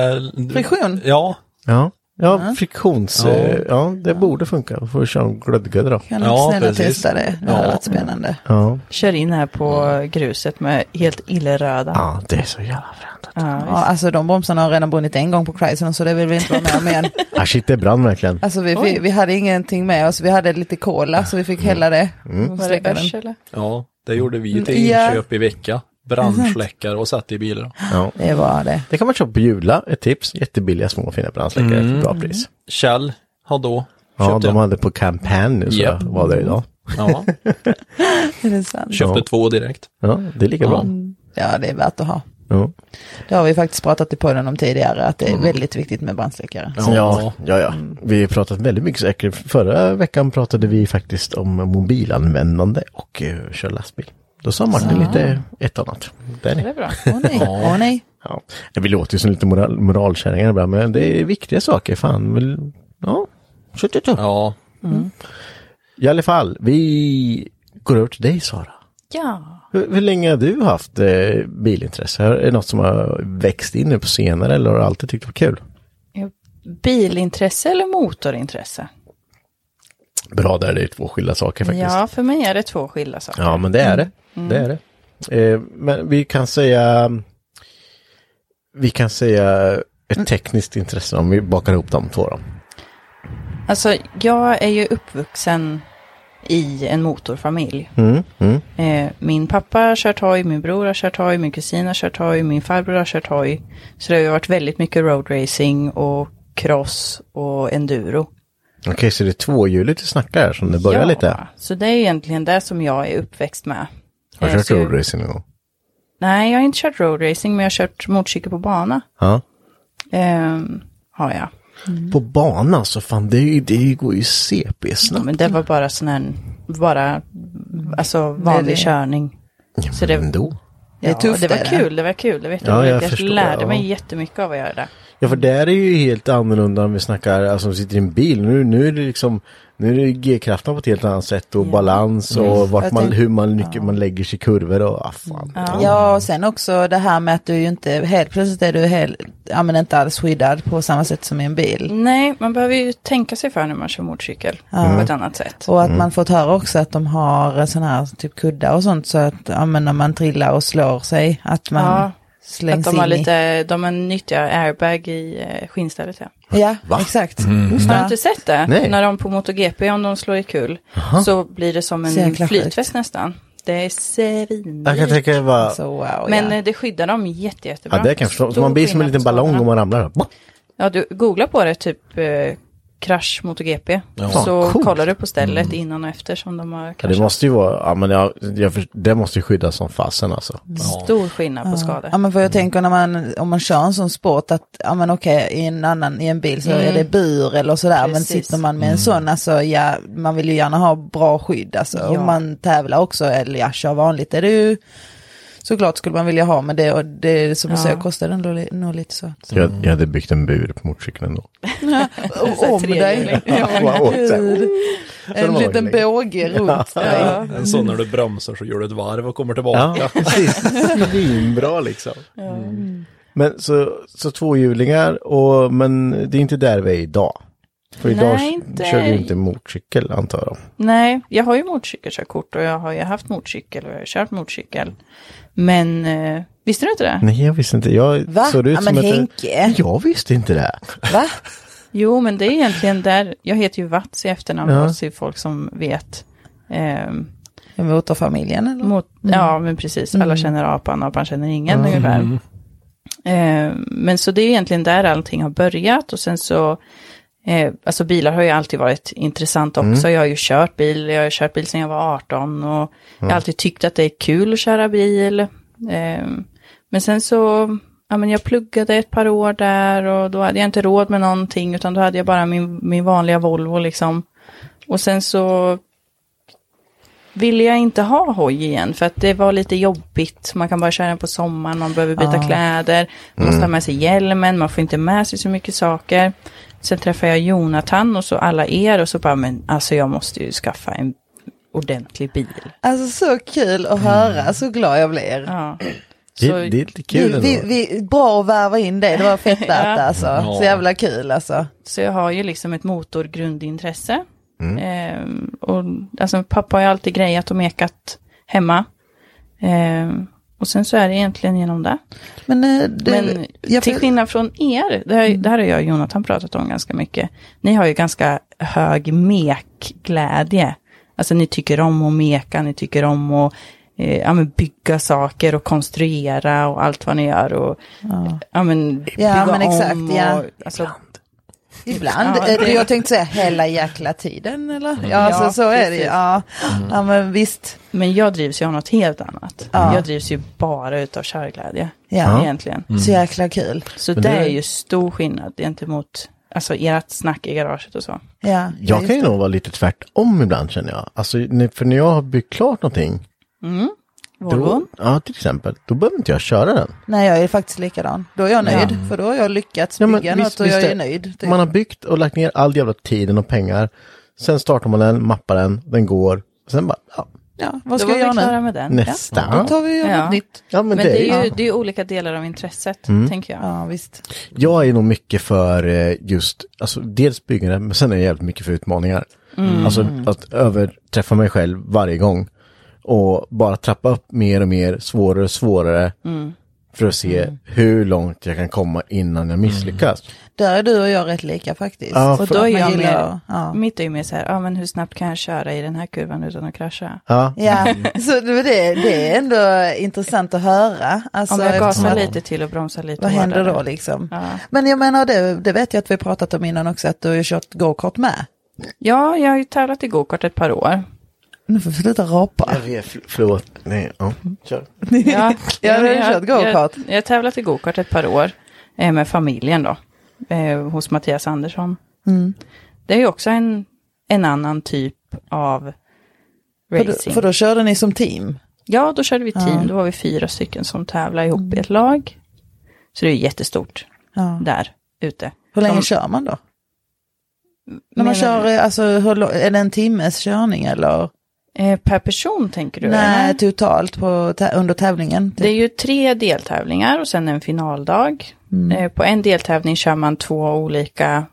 Speaker 4: det...
Speaker 2: Friktion?
Speaker 4: Ja,
Speaker 3: ja. Ja, friktions...
Speaker 4: Ja.
Speaker 3: eh, Ja, det borde funka. Man får köra en glödgudde då.
Speaker 2: Kan du
Speaker 4: Ja,
Speaker 2: snälla
Speaker 4: precis.
Speaker 2: testa det? Det hade
Speaker 4: Ja.
Speaker 2: varit spännande.
Speaker 3: Ja.
Speaker 5: Kör in här på gruset med helt illröda.
Speaker 3: ja, det är så jävla fränt.
Speaker 2: Ja, alltså de bromsarna har redan brunnit en gång på Chrysler så det vill vi inte vara med om igen.
Speaker 3: Ah, shit, det brann verkligen.
Speaker 2: Alltså vi, vi, vi hade ingenting med oss, vi hade lite cola så vi
Speaker 4: Mm.
Speaker 2: fick hälla det. Och
Speaker 5: Var
Speaker 2: släcka
Speaker 5: det
Speaker 2: den.
Speaker 5: bärs eller?
Speaker 4: ja, det gjorde vi till
Speaker 2: Ja.
Speaker 4: inköp i vecka. Brandsläckare och satt i bilar.
Speaker 3: Ja.
Speaker 2: Det var det.
Speaker 3: Det kan man köpa på Jula, ett tips. Jättebilliga små fina brandsläckare till bra pris.
Speaker 4: Kjell hade då.
Speaker 3: Ja,
Speaker 4: Köpte
Speaker 3: de
Speaker 4: jag.
Speaker 3: hade på kampanj nu så
Speaker 4: Japp.
Speaker 3: var det idag.
Speaker 4: Ja,
Speaker 2: Är det sant?
Speaker 4: köpte
Speaker 3: Ja.
Speaker 4: två direkt.
Speaker 3: Ja, det är lika bra.
Speaker 2: Ja, det är värt att ha.
Speaker 3: Ja.
Speaker 2: Det har vi faktiskt pratat i podden om tidigare, att det
Speaker 4: Mm.
Speaker 2: är väldigt viktigt med brandsläckare.
Speaker 3: Ja. ja, ja, Vi har pratat väldigt mycket säkert. Förra veckan pratade vi faktiskt om mobilanvändande och uh, köra lastbil. Då sa Martin lite ett annat. Där
Speaker 5: Det
Speaker 3: är.
Speaker 5: är bra.
Speaker 2: Åh nej, åh nej.
Speaker 3: Ja. Vi låter ju som lite moral, moralkärringar ibland, men det är viktiga saker. Fan, väl, ja. Shut it up.
Speaker 4: Ja,
Speaker 3: I alla fall, vi går över till dig Sara.
Speaker 5: Ja.
Speaker 3: Hur, hur länge har du haft eh, bilintresse? Är det något som har växt in nu på senare eller har du alltid tyckt det var kul?
Speaker 5: Bilintresse eller motorintresse?
Speaker 3: Bra där, det är två skilda saker faktiskt.
Speaker 5: Ja, för mig är det två skilda saker.
Speaker 3: Ja, men det är det. Det
Speaker 5: Mm.
Speaker 3: är det. Eh, men vi kan säga... Vi kan säga
Speaker 5: Mm.
Speaker 3: ett tekniskt intresse om vi bakar ihop de två då.
Speaker 5: Alltså, jag är ju uppvuxen i en motorfamilj.
Speaker 3: Mm, mm,
Speaker 5: Eh, min pappa har kört hoj, min bror har kört hoj, min kusin har kört hoj, min farbror har kört hoj. Så det har ju varit väldigt mycket roadracing och cross och enduro.
Speaker 3: Okej, så det är tvåhjuligt vi snackar här som det börjar
Speaker 5: Ja,
Speaker 3: lite.
Speaker 5: Så det är egentligen det som jag är uppväxt med.
Speaker 3: Har
Speaker 5: Eh,
Speaker 3: du kört
Speaker 5: så-
Speaker 3: roadracing någon gång?
Speaker 5: Nej, jag har inte kört roadracing, men jag har kört motorcykel på bana.
Speaker 3: Ja.
Speaker 5: Ehm, har jag. Mm.
Speaker 3: På banan så fan, det, är ju- det går ju
Speaker 5: Ja,
Speaker 3: CP-snabbt.
Speaker 5: men det var bara sån här, bara, alltså vanlig
Speaker 2: det-
Speaker 5: körning. Så det,
Speaker 3: Ändå.
Speaker 2: Det är
Speaker 5: ja,
Speaker 2: tufft.
Speaker 5: det
Speaker 2: är
Speaker 5: var kul, det var kul, det vet
Speaker 3: Ja,
Speaker 5: jag.
Speaker 3: jag
Speaker 5: Jag,
Speaker 3: förstår,
Speaker 5: lärde
Speaker 3: ja.
Speaker 5: mig jättemycket av att göra det.
Speaker 3: Ja, för där är ju helt annorlunda om vi snackar, alltså om vi sitter i en bil. Nu, nu är det liksom, nu är det G-kraften på ett helt annat sätt och balans och
Speaker 5: Mm.
Speaker 3: vart
Speaker 2: Jag
Speaker 3: man,
Speaker 2: tänkte-
Speaker 3: hur man, nyc- man lägger sig i kurvor och ah, fan.
Speaker 2: Ja, och sen också det här med att du ju inte, helt plötsligt är du helt, ja men inte alls skyddad på samma sätt som i en bil.
Speaker 5: Nej, man behöver ju tänka sig för när man kör motorcykel på ett annat sätt.
Speaker 2: Och att man fått höra också att de har sådana här typ kuddar och sånt så att, ja men när man trillar och slår sig, att man
Speaker 5: Ja, Att
Speaker 2: slängs
Speaker 5: de har
Speaker 2: in i.
Speaker 5: lite, de har nyttiga airbag i eh, skinnstället ja.
Speaker 2: Ja, exakt.
Speaker 5: Har du inte sett det?
Speaker 3: Nej.
Speaker 5: När de på MotoGP, om de slår i kul, så blir det som
Speaker 2: Så
Speaker 5: en
Speaker 2: jäkla sjukt.
Speaker 5: flytväst nästan. Det är svin.
Speaker 3: Jag kan tänka mig bara,
Speaker 2: Så wow,
Speaker 5: Men
Speaker 2: ja.
Speaker 5: eh, det skyddar dem jätte, jättebra.
Speaker 3: ja det kan jag förstå. Så
Speaker 5: Stor
Speaker 3: man blir som en liten
Speaker 5: skillnad på skadorna.
Speaker 3: ballong om man ramlar. Bop!
Speaker 5: Ja, du googlar på det, typ eh, krasch MotoGP. Så
Speaker 3: Fan, coolt.
Speaker 5: kollar du på stället innan och efter som de har
Speaker 3: Mm. Ja, det
Speaker 5: kraschat.
Speaker 3: måste ju vara, ja men jag, jag, först- det måste ju skyddas som fasen alltså.
Speaker 5: Stor skillnad på skador.
Speaker 2: Ja men för jag tänker när man, om man kör en sån sport att, ja men okej i en annan, i en bil så är det bur eller sådär men
Speaker 5: Mm. Precis.
Speaker 2: sitter man med en sån alltså ja, man vill ju gärna ha bra skydd alltså.
Speaker 5: Ja.
Speaker 2: Om man tävlar också eller ja, kör vanligt är det ju såklart skulle man vilja ha, men det, och det som du
Speaker 5: Ja.
Speaker 2: säger kostar ändå li- nog lite så. att-
Speaker 3: Jag, jag hade byggt en bur på motorcykeln ändå.
Speaker 2: Och Om dig.
Speaker 3: Wow, så här.
Speaker 2: En
Speaker 3: var
Speaker 2: liten
Speaker 3: länge.
Speaker 2: båge runt dig.
Speaker 4: En sån när du bromsar så gör du ett varv och kommer tillbaka.
Speaker 3: Ja, precis. Svinbra liksom. Men så, så tvåhjulingar, och, men det är inte där vi är idag. För idag
Speaker 5: Nej,
Speaker 3: inte.
Speaker 5: inte.
Speaker 3: kör vi inte motorcykel antar jag.
Speaker 5: Nej, jag har ju motorcykelkörkort och jag har ju haft motorcykel och jag har kört motorcykel. Men eh, visste du inte det?
Speaker 3: Nej, jag visste inte. Jag
Speaker 2: Va?
Speaker 3: såg ut
Speaker 2: Ja,
Speaker 3: som
Speaker 2: men
Speaker 3: att jag-
Speaker 2: Henke.
Speaker 3: Jag visste inte det.
Speaker 2: Va?
Speaker 5: Jo, men det är egentligen där. Jag heter ju Vats i efternamn,
Speaker 3: Ja.
Speaker 5: ja. så är det folk som vet. Ehm,
Speaker 2: Är Motorfamiljen eller?
Speaker 5: mot, Ja, men precis. Alla känner apan, apan känner ingen ungefär. Eh, men så det är egentligen där allting har börjat och sen så, eh, alltså bilar har ju alltid varit intressant också. Jag har ju kört bil, jag har kört bil sedan jag var 18 och jag har alltid tyckt att det är kul att köra bil. Eh, men sen så, ja men jag pluggade ett par år där och då hade jag inte råd med någonting utan då hade jag bara min, min vanliga Volvo liksom. Och sen så ville jag inte ha hoj igen för att det var lite jobbigt. Man kan bara köra den på sommaren, man behöver byta kläder, man måste ha med sig hjälmen, man får inte med sig så mycket saker. Sen träffade jag Jonathan och så alla er och så bara, men alltså jag måste ju skaffa en ordentlig bil.
Speaker 2: Alltså så kul att höra, så glad jag blir.
Speaker 5: Mm. Ja. Så-
Speaker 3: Det, det är lite kul
Speaker 2: vi, vi,
Speaker 3: ändå.
Speaker 2: vi, bra att värva in dig, det var fett värt det alltså. Så jävla kul alltså.
Speaker 5: Så jag har ju liksom ett motorgrundintresse. Ehm, och, alltså, pappa har ju alltid grejat och mekat hemma. Ehm, och sen så är det egentligen genom det.
Speaker 2: Men, eh, du,
Speaker 5: Men
Speaker 2: jag,
Speaker 5: till skillnad från er, det här,
Speaker 2: Mm.
Speaker 5: det här har jag och Jonathan pratat om ganska mycket. Ni har ju ganska hög mekglädje. Alltså ni tycker om att meka, ni tycker om att eh, ja, men bygga saker och konstruera och allt vad ni gör. Och, ja. men, bygga
Speaker 2: men exakt,
Speaker 5: om
Speaker 2: ja.
Speaker 5: Och, alltså,
Speaker 2: ibland,
Speaker 5: Ja,
Speaker 2: eh,
Speaker 5: det-
Speaker 2: jag tänkte säga hela jäkla tiden eller?
Speaker 3: Mm.
Speaker 2: Ja, alltså,
Speaker 5: Ja,
Speaker 2: så är det ju.
Speaker 5: precis.
Speaker 2: Ja. ja, men visst.
Speaker 5: men jag drivs ju av något helt annat.
Speaker 2: Ja.
Speaker 5: Jag drivs ju bara utav körglädje
Speaker 2: Ja.
Speaker 5: egentligen.
Speaker 2: Så
Speaker 3: Mm.
Speaker 2: jäkla kul.
Speaker 5: Så
Speaker 3: Men
Speaker 5: det
Speaker 3: det-
Speaker 5: är ju stor skillnad gentemot alltså, ert snack i garaget och så.
Speaker 2: Ja, ja,
Speaker 3: Jag
Speaker 2: just
Speaker 3: kan ju
Speaker 2: det.
Speaker 3: nog vara lite tvärtom ibland känner jag. Alltså, när- för när jag har byggt klart någonting.
Speaker 2: Mm.
Speaker 5: Volvon?
Speaker 3: Då, ja, till exempel. Då behöver inte jag köra den.
Speaker 2: Nej, jag är faktiskt likadan. Då är jag nöjd, för då har jag lyckats
Speaker 3: Ja,
Speaker 2: bygga
Speaker 3: men
Speaker 2: något
Speaker 3: visst-
Speaker 2: och
Speaker 3: visst
Speaker 2: jag
Speaker 3: det.
Speaker 2: är nöjd. Typ.
Speaker 3: Man har byggt och lagt ner all jävla tiden och pengar. Sen startar man den, mappar den, den går. Sen bara, ja,
Speaker 2: Ja, vad
Speaker 5: Då
Speaker 2: ska
Speaker 5: var
Speaker 2: jag
Speaker 5: vi
Speaker 2: göra
Speaker 5: klara
Speaker 2: nu?
Speaker 5: med den. Ja.
Speaker 3: nästa.
Speaker 2: Då tar vi ju
Speaker 5: Ja.
Speaker 2: något nytt.
Speaker 3: Ja,
Speaker 5: Men, det, är ju,
Speaker 3: ja.
Speaker 5: det är ju olika delar av intresset,
Speaker 2: Mm.
Speaker 5: tänker jag.
Speaker 2: Ja, visst.
Speaker 3: Jag är nog mycket för eh, just, alltså dels byggande, men sen är jag jävligt mycket för utmaningar. Alltså att överträffa mig själv varje gång. Och bara trappa upp mer och mer, svårare och svårare. För att se hur långt jag kan komma innan jag misslyckas.
Speaker 2: Där är du och jag rätt lika faktiskt.
Speaker 3: Ja,
Speaker 5: Och
Speaker 3: för-
Speaker 5: då är
Speaker 2: Man
Speaker 5: jag
Speaker 2: gillar-
Speaker 5: mer,
Speaker 2: ja.
Speaker 5: mitt är ju Mm. mer så här, ja men hur snabbt kan jag köra i den här kurvan utan att krascha?
Speaker 3: Ja,
Speaker 2: Ja, så det, det, det är ändå intressant att höra. Alltså,
Speaker 5: Om jag
Speaker 2: eftersom
Speaker 5: gasar
Speaker 2: att-
Speaker 5: lite till och bromsar lite
Speaker 2: Vad händer
Speaker 5: hårdare.
Speaker 2: då liksom?
Speaker 5: Ja.
Speaker 2: Men jag menar, det, det vet jag att vi pratat om innan också, att du har ju kört gokart med.
Speaker 5: Ja, jag har ju tävlat i gokart ett par år.
Speaker 2: Nu får vi sluta rapa.
Speaker 3: jag vet, förl- förlåt. Nej, ja. Kör.
Speaker 5: Ja,
Speaker 2: Ja, du har
Speaker 5: men jag-
Speaker 2: kört go-kart.
Speaker 5: Jag, jag har tävlat i gokart ett par år eh, med familjen då, eh, hos Mattias Andersson.
Speaker 2: Mm.
Speaker 5: Det är ju också en, en annan typ av
Speaker 2: För,
Speaker 5: racing.
Speaker 2: då- för då körde ni som team.
Speaker 5: Ja, då körde vi team. Då var vi fyra stycken som tävlade ihop
Speaker 2: Mm.
Speaker 5: i ett lag. Så det är ju jättestort där ute.
Speaker 2: Hur länge
Speaker 5: Som-
Speaker 2: kör man då? När man
Speaker 5: Menar
Speaker 2: kör, eh, alltså, hur, lo- är det en timmes körning eller?
Speaker 5: Eh, per person tänker du?
Speaker 2: Nej,
Speaker 5: eller?
Speaker 2: totalt på, tä- under tävlingen.
Speaker 5: Det är ju tre deltävlingar och sen en finaldag.
Speaker 3: Mm.
Speaker 5: Eh, på en deltävling kör man två olika,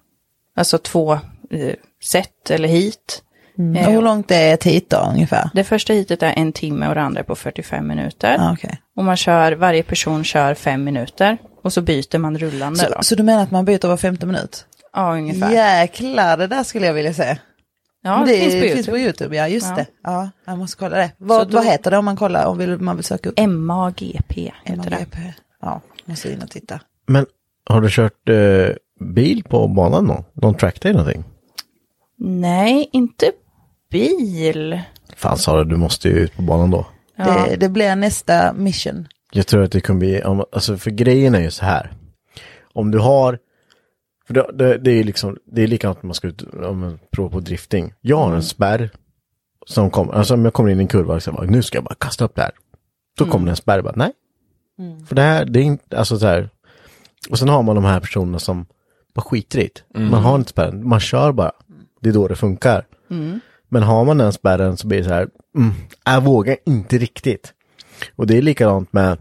Speaker 5: alltså två eh, set eller hit.
Speaker 2: Och Mm. hur långt är ett hit då ungefär?
Speaker 5: Eh, Det första hitet är en timme och det andra är på 45 minuter.
Speaker 2: Ja, Ah, okej.
Speaker 5: Och man kör, varje person kör fem minuter. Och så byter man rullande
Speaker 2: så,
Speaker 5: då.
Speaker 2: så du menar att man byter var femte minut?
Speaker 5: Ja, ungefär.
Speaker 2: Jäklar, det där skulle jag vilja se.
Speaker 5: Ja, det, finns på YouTube.
Speaker 2: ja just
Speaker 5: Ja.
Speaker 2: det. Ja, jag måste kolla det. Vad,
Speaker 5: då-
Speaker 2: vad heter det om man kollar, om vill, man vill söka upp?
Speaker 5: MAGP heter det.
Speaker 2: MGP. Ja, måste in och titta.
Speaker 3: Men har du kört eh, bil på banan någon? Någon trackday någonting?
Speaker 5: Nej, inte bil.
Speaker 3: Fan Sara, du måste ju ut på banan då.
Speaker 2: Det, det blir nästa mission.
Speaker 3: Jag tror att det kommer bli, om- alltså för grejen är ju så här. Om du har, för det, det, det är ju liksom, det är likadant när man ska ut, om man provar på drifting. Jag har en spärr som kommer, alltså om jag kommer in i en kurva och så bara, nu ska jag bara kasta upp det här. Då
Speaker 2: Mm.
Speaker 3: kommer det en spärr. Bara, nej. För det här, det är inte, alltså så här. Och sen har man de här personerna som bara skiter i det. Man har inte spärren, man kör bara. Det är då det funkar.
Speaker 2: Mm.
Speaker 3: Men har man den spärren så blir det så här, mm, jag vågar inte riktigt. Och det är likadant med,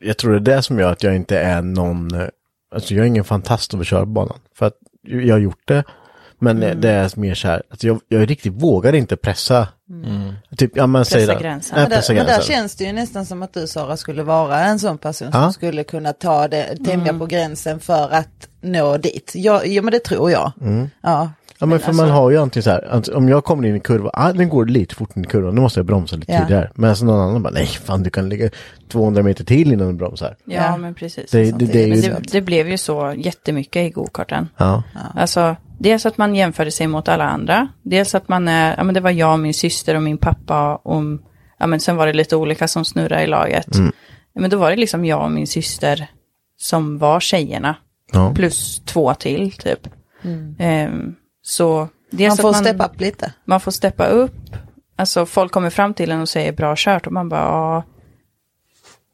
Speaker 3: jag tror det är det som gör att jag inte är någon, eh, alltså jag är ingen fantast över körbanan. För att jag har gjort det, men
Speaker 2: Mm.
Speaker 3: det är mer så här, att jag, jag riktigt vågar inte pressa. Typ, ja, men, säg
Speaker 5: Pressa
Speaker 3: det.
Speaker 5: gränsen.
Speaker 3: Nej,
Speaker 2: Mm. Men där,
Speaker 3: pressa
Speaker 2: men där
Speaker 3: gränsen.
Speaker 2: känns det ju nästan som att du Sara skulle vara en sån person
Speaker 3: Ja.
Speaker 2: som skulle kunna ta det, tänja
Speaker 5: Mm.
Speaker 2: på gränsen för att nå dit. Ja, ja men det tror jag.
Speaker 3: Mm.
Speaker 2: Ja.
Speaker 3: Ja men för
Speaker 5: alltså-
Speaker 3: man har ju antingen så här, att om jag kommer in i kurva, ah, den går lite fort in i kurvan, då måste jag bromsa lite
Speaker 2: Ja.
Speaker 3: tidigare. Men så någon annan bara, nej fan du kan ligga 200 meter till innan du bromsar.
Speaker 5: Ja,
Speaker 2: Ja.
Speaker 5: men precis.
Speaker 3: Det, det, det är
Speaker 5: men
Speaker 3: ju
Speaker 5: det, det blev ju så jättemycket i gokarten.
Speaker 3: Ja.
Speaker 5: Alltså, dels att man jämförde sig mot alla andra. Dels att man är, ja men det var jag, min syster och min pappa och, ja men sen var det lite olika som snurrade i laget.
Speaker 3: Mm.
Speaker 5: Ja, Men då var det liksom jag och min syster som var tjejerna.
Speaker 3: Ja.
Speaker 5: Plus två till typ. Ehm, så dels
Speaker 2: Man får
Speaker 5: att man,
Speaker 2: steppa upp lite.
Speaker 5: man får steppa upp. Alltså folk kommer fram till en och säger bra kört och man bara, ja.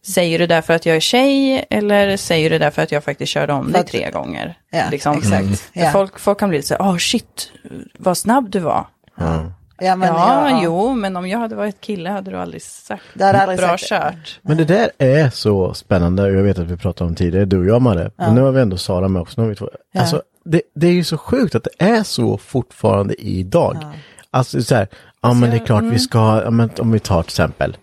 Speaker 5: Säger du det för att jag är tjej eller säger du det för att jag faktiskt körde om dig
Speaker 2: att-
Speaker 5: tre gånger?
Speaker 2: Ja,
Speaker 5: Liksom.
Speaker 2: exakt. Mm. Ja.
Speaker 5: Folk, folk kan bli lite så här, åh shit, vad snabb du var.
Speaker 2: Ja, men
Speaker 5: ja,
Speaker 2: ja,
Speaker 5: jo, men om jag hade varit kille hade du aldrig sagt
Speaker 2: Det hade jag aldrig
Speaker 5: bra
Speaker 2: sagt.
Speaker 5: kört.
Speaker 3: Men det där är så spännande och jag vet att vi pratade om tidigare, du och jag Madde. Men nu har vi ändå Sara med också. Nu har vi två. Alltså, det, det är ju så sjukt att det är så fortfarande idag. Alltså så här, ja men det är klart vi ska, ja, men, om vi tar till exempel,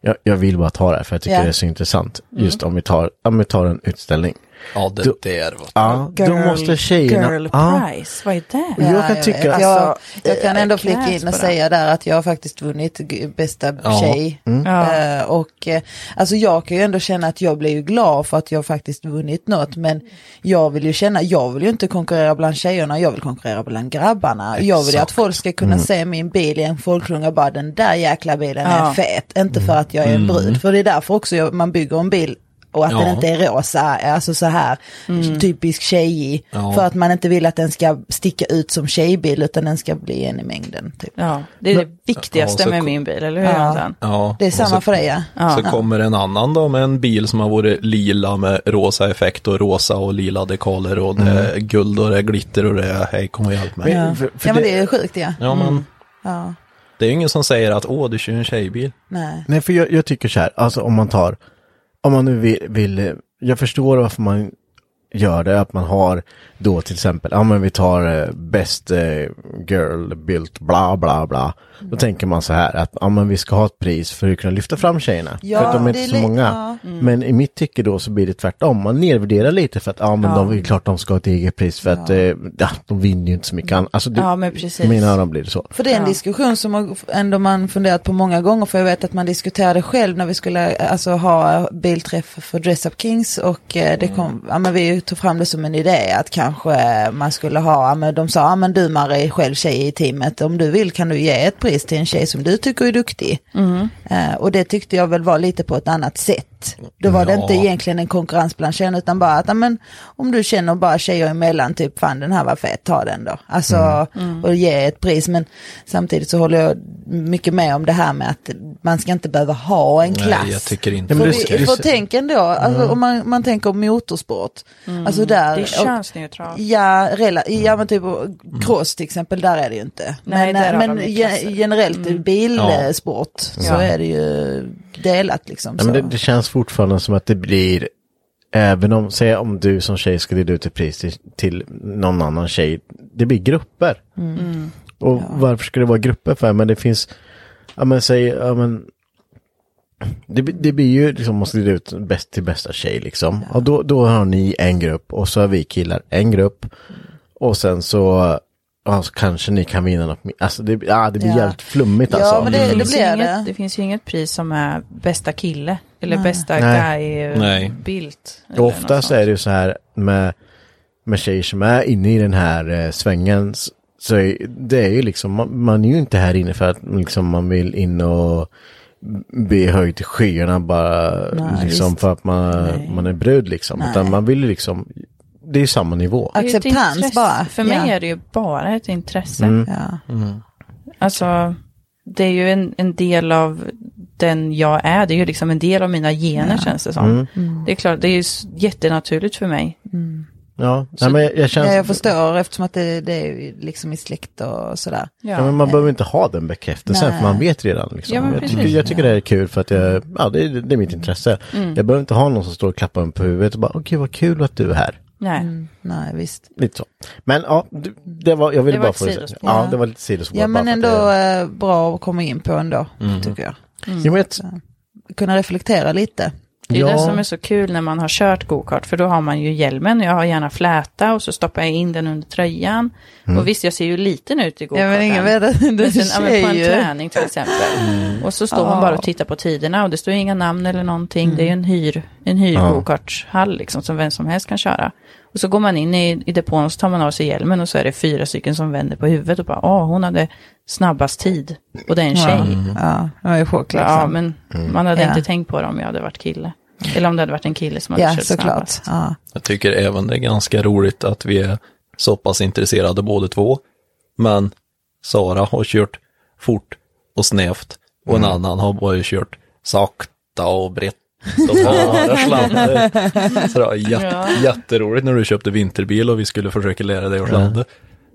Speaker 3: jag, jag vill bara ta det här för jag tycker
Speaker 2: Ja.
Speaker 3: det är så intressant. Just om vi tar, om vi tar en utställning.
Speaker 4: Ja, det
Speaker 3: Du-
Speaker 4: där var...
Speaker 3: Ja, då måste tjejerna...
Speaker 5: Girl
Speaker 3: ja.
Speaker 5: prize, vad är det?
Speaker 3: Och jag kan
Speaker 2: jag,
Speaker 3: tycka... Alltså, eh,
Speaker 2: vet. jag, jag kan ändå
Speaker 5: jag
Speaker 2: flicka
Speaker 5: kräks
Speaker 2: in och
Speaker 5: på det.
Speaker 2: säga där att jag har faktiskt vunnit g- bästa
Speaker 4: Ja. Mm.
Speaker 2: tjej. Eh, och eh, alltså jag kan ju ändå känna att jag blir ju glad för att jag faktiskt vunnit något. Men jag vill ju känna, jag vill ju inte konkurrera bland tjejerna, jag vill konkurrera bland grabbarna. Jag vill ju att folk ska
Speaker 4: Mm.
Speaker 2: kunna se min bil i en folkklunga och bara den där jäkla bilen är
Speaker 5: Ja.
Speaker 2: fet. Inte
Speaker 4: Mm.
Speaker 2: för att jag är en brud, för det är därför också jag, man bygger en bil och att den
Speaker 4: Ja.
Speaker 2: inte är rosa, alltså så här typisk tjejig.
Speaker 4: Ja.
Speaker 2: För att man inte vill att den ska sticka ut som tjejbil utan den ska bli en i mängden. Typ.
Speaker 5: Ja, det är det viktigaste
Speaker 4: Ja, så-
Speaker 5: med min bil, eller hur
Speaker 2: Ja.
Speaker 5: Jonathan?
Speaker 4: Ja,
Speaker 2: Det är
Speaker 4: och
Speaker 2: samma
Speaker 4: så,
Speaker 2: för dig ja.
Speaker 4: Så kommer en annan då med en bil som har varit lila med rosa effekt och rosa och lila dekaler och det
Speaker 8: Mm.
Speaker 4: är guld och det är glitter och det är hej kom och hjälp mig.
Speaker 2: Ja,
Speaker 3: för- för
Speaker 2: ja men
Speaker 3: det-
Speaker 2: det är ju sjukt ja.
Speaker 4: Ja,
Speaker 8: Mm.
Speaker 4: men
Speaker 2: ja.
Speaker 4: det är ju ingen som säger att åh, du kör en tjejbil.
Speaker 2: Nej.
Speaker 3: Nej, för jag, jag tycker så här, alltså om man tar, om man nu vill, vill eh, jag förstår varför man gör det, att man har då till exempel, ja men vi tar eh, bäst eh, girl built bla bla bla. Då tänker man så här att, ja men vi ska ha ett pris för att kunna lyfta fram tjejerna.
Speaker 2: Ja,
Speaker 3: för att de är
Speaker 2: det
Speaker 3: inte
Speaker 2: är li-
Speaker 3: så många. Men i mitt tycke då så blir det tvärtom, man nedvärderar lite för att, ja men de, det är klart de ska ha ett eget pris för att, eh, ja, de vinner ju inte så mycket annat. Alltså, det,
Speaker 5: Ja, men precis.
Speaker 3: i mina öron blir det så.
Speaker 2: För det är en diskussion som har ändå man funderat på många gånger för jag vet att man diskuterade själv när vi skulle eh, alltså, ha bilträff för Dress Up Kings och eh, det kom, ja, men vi tog fram det som en idé att kanske eh, man skulle ha, ja, men de sa, ja, men du Marie är själv tjej i teamet, om du vill kan du ge ett pris till en tjej som du tycker är duktig. Eh, och det tyckte jag väl var lite på ett annat sätt. Då var det
Speaker 4: Ja.
Speaker 2: inte egentligen en konkurrens bland tjejerna utan bara att ja, men, om du känner bara tjejer emellan, typ fan den här var fet, ta den då. Alltså
Speaker 4: Mm.
Speaker 5: Mm.
Speaker 2: och ge ett pris. Men samtidigt så håller jag mycket med om det här med att man ska inte behöva ha en klass.
Speaker 4: Nej, jag tycker inte
Speaker 3: Ja,
Speaker 2: För,
Speaker 3: men
Speaker 4: det Mm.
Speaker 3: det-
Speaker 4: är
Speaker 2: vi,
Speaker 4: okej.
Speaker 2: för tänk ändå, alltså, om man, man tänker motorsport. Alltså där,
Speaker 5: Mm. Det är
Speaker 2: och-
Speaker 5: könsneutralt.
Speaker 2: Ja, rela, ja
Speaker 4: Mm.
Speaker 2: men typ och cross till exempel, där är det ju inte.
Speaker 5: Nej, där
Speaker 2: men
Speaker 5: har
Speaker 2: men
Speaker 5: de ju
Speaker 2: ge-
Speaker 5: klasser.
Speaker 2: generellt i bilsport så
Speaker 5: Ja.
Speaker 2: är det ju delat liksom.
Speaker 3: Ja, men det,
Speaker 2: så.
Speaker 3: det känns fortfarande som att det blir, även om, säg om du som tjej ska dela ut ett pris till, till någon annan tjej, det blir grupper.
Speaker 2: Mm.
Speaker 3: Och varför ska det vara grupper för? Men det finns, ja men säg, ja men, det, blir- det blir ju liksom, man ska dela ut bäst till bästa tjej liksom. Och då, då har ni en grupp och så har vi killar en grupp. Och sen så, ja, så kanske ni kan vinna något mer. Alltså det, ja, det blir
Speaker 2: Ja.
Speaker 3: jävligt flummigt
Speaker 2: Ja,
Speaker 3: alltså.
Speaker 2: men det-
Speaker 5: Det
Speaker 2: det
Speaker 5: finns, ju
Speaker 2: blir det.
Speaker 5: inget, det finns ju inget pris som är bästa kille eller bästa
Speaker 3: Mm. Nej.
Speaker 4: Nej.
Speaker 5: guy-bilt.
Speaker 3: Och oftast är det ju så här med, med tjejer som är inne i den här eh, svängen. s- Så är, det är ju liksom, man, man är ju inte här inne för att liksom, man vill in och bli höjd till skyarna bara
Speaker 2: Nej,
Speaker 3: liksom
Speaker 2: visst.
Speaker 3: för att man, man är brud liksom. Utan man vill ju liksom, det är ju samma nivå.
Speaker 5: Det är ju ett
Speaker 2: Acceptans
Speaker 5: intresse.
Speaker 2: bara.
Speaker 5: För mig
Speaker 2: Ja.
Speaker 5: är det ju bara ett
Speaker 3: Mm.
Speaker 5: intresse.
Speaker 2: Ja.
Speaker 5: Alltså, det är ju en, en del av
Speaker 8: den jag är. Det är ju liksom en del av mina gener känns det som.
Speaker 3: Mm.
Speaker 2: Mm.
Speaker 8: Det är klart, det är ju s- jättenaturligt för mig.
Speaker 3: Ja, nej, men jag, jag känns...
Speaker 2: Ja, jag förstår eftersom att det, det är ju liksom i släkt och sådär.
Speaker 3: Ja, men man behöver inte ha den bekräftelsen
Speaker 2: Nej.
Speaker 3: för man vet redan. Liksom.
Speaker 8: Ja, men
Speaker 3: jag, tycker,
Speaker 8: precis. Mm.
Speaker 3: jag tycker det här är kul för att jag, ja, det, är, det är mitt intresse. Jag behöver inte ha någon som står och klappar mig på huvudet och bara, okej vad kul att du är här.
Speaker 8: Nej.
Speaker 2: Nej, visst.
Speaker 3: Lite så. Men ja, du- det var, jag ville
Speaker 8: Det var
Speaker 3: bara
Speaker 8: ett
Speaker 3: få det sagt.
Speaker 8: sidospår.
Speaker 3: Ja, det var lite sidospår.
Speaker 2: Ja,
Speaker 3: bara
Speaker 2: men
Speaker 3: för att Mm.
Speaker 2: ändå
Speaker 3: jag-
Speaker 2: eh, bra att komma in på ändå, tycker jag.
Speaker 3: Ja,
Speaker 8: Mm.
Speaker 3: men jag-
Speaker 2: Kunna reflektera lite.
Speaker 8: Det är
Speaker 3: Ja.
Speaker 8: det som är så kul när man har kört gokart, för då har man ju hjälmen, jag har gärna fläta och så stoppar jag in den under tröjan. Och visst, jag ser ju liten ut i
Speaker 2: Ja,
Speaker 8: gokarten.
Speaker 2: men ingen vet att du
Speaker 8: Men
Speaker 2: är
Speaker 8: sen, ja, men på en
Speaker 2: tjej
Speaker 8: träning till exempel. Och så står man bara och tittar på tiderna och det står inga namn eller någonting. Det är ju en hyr, en hyrgokartshall liksom som vem som helst kan köra. Och så går man in i, i depån och så tar man av sig hjälmen och så är det fyra stycken som vänder på huvudet och bara, åh, hon hade snabbast tid. Och det är en tjej.
Speaker 3: Mm.
Speaker 2: ju. Ja, jag är i chock liksom.
Speaker 8: Ja, men
Speaker 4: Mm.
Speaker 8: man hade
Speaker 2: Ja.
Speaker 8: inte tänkt på det om jag hade varit kille. Eller om det hade varit en kille som hade
Speaker 2: Ja,
Speaker 8: kört
Speaker 2: såklart.
Speaker 8: snabbast.
Speaker 2: Ja.
Speaker 5: Jag tycker även det är ganska roligt att vi är så pass intresserade båda två. Men Sara har kört fort och snävt och en annan har bara kört sakta och brett. och bara sladder. Så det var jätte,
Speaker 8: Ja.
Speaker 5: Jätteroligt när du köpte vinterbil och vi skulle försöka lära dig att sladda.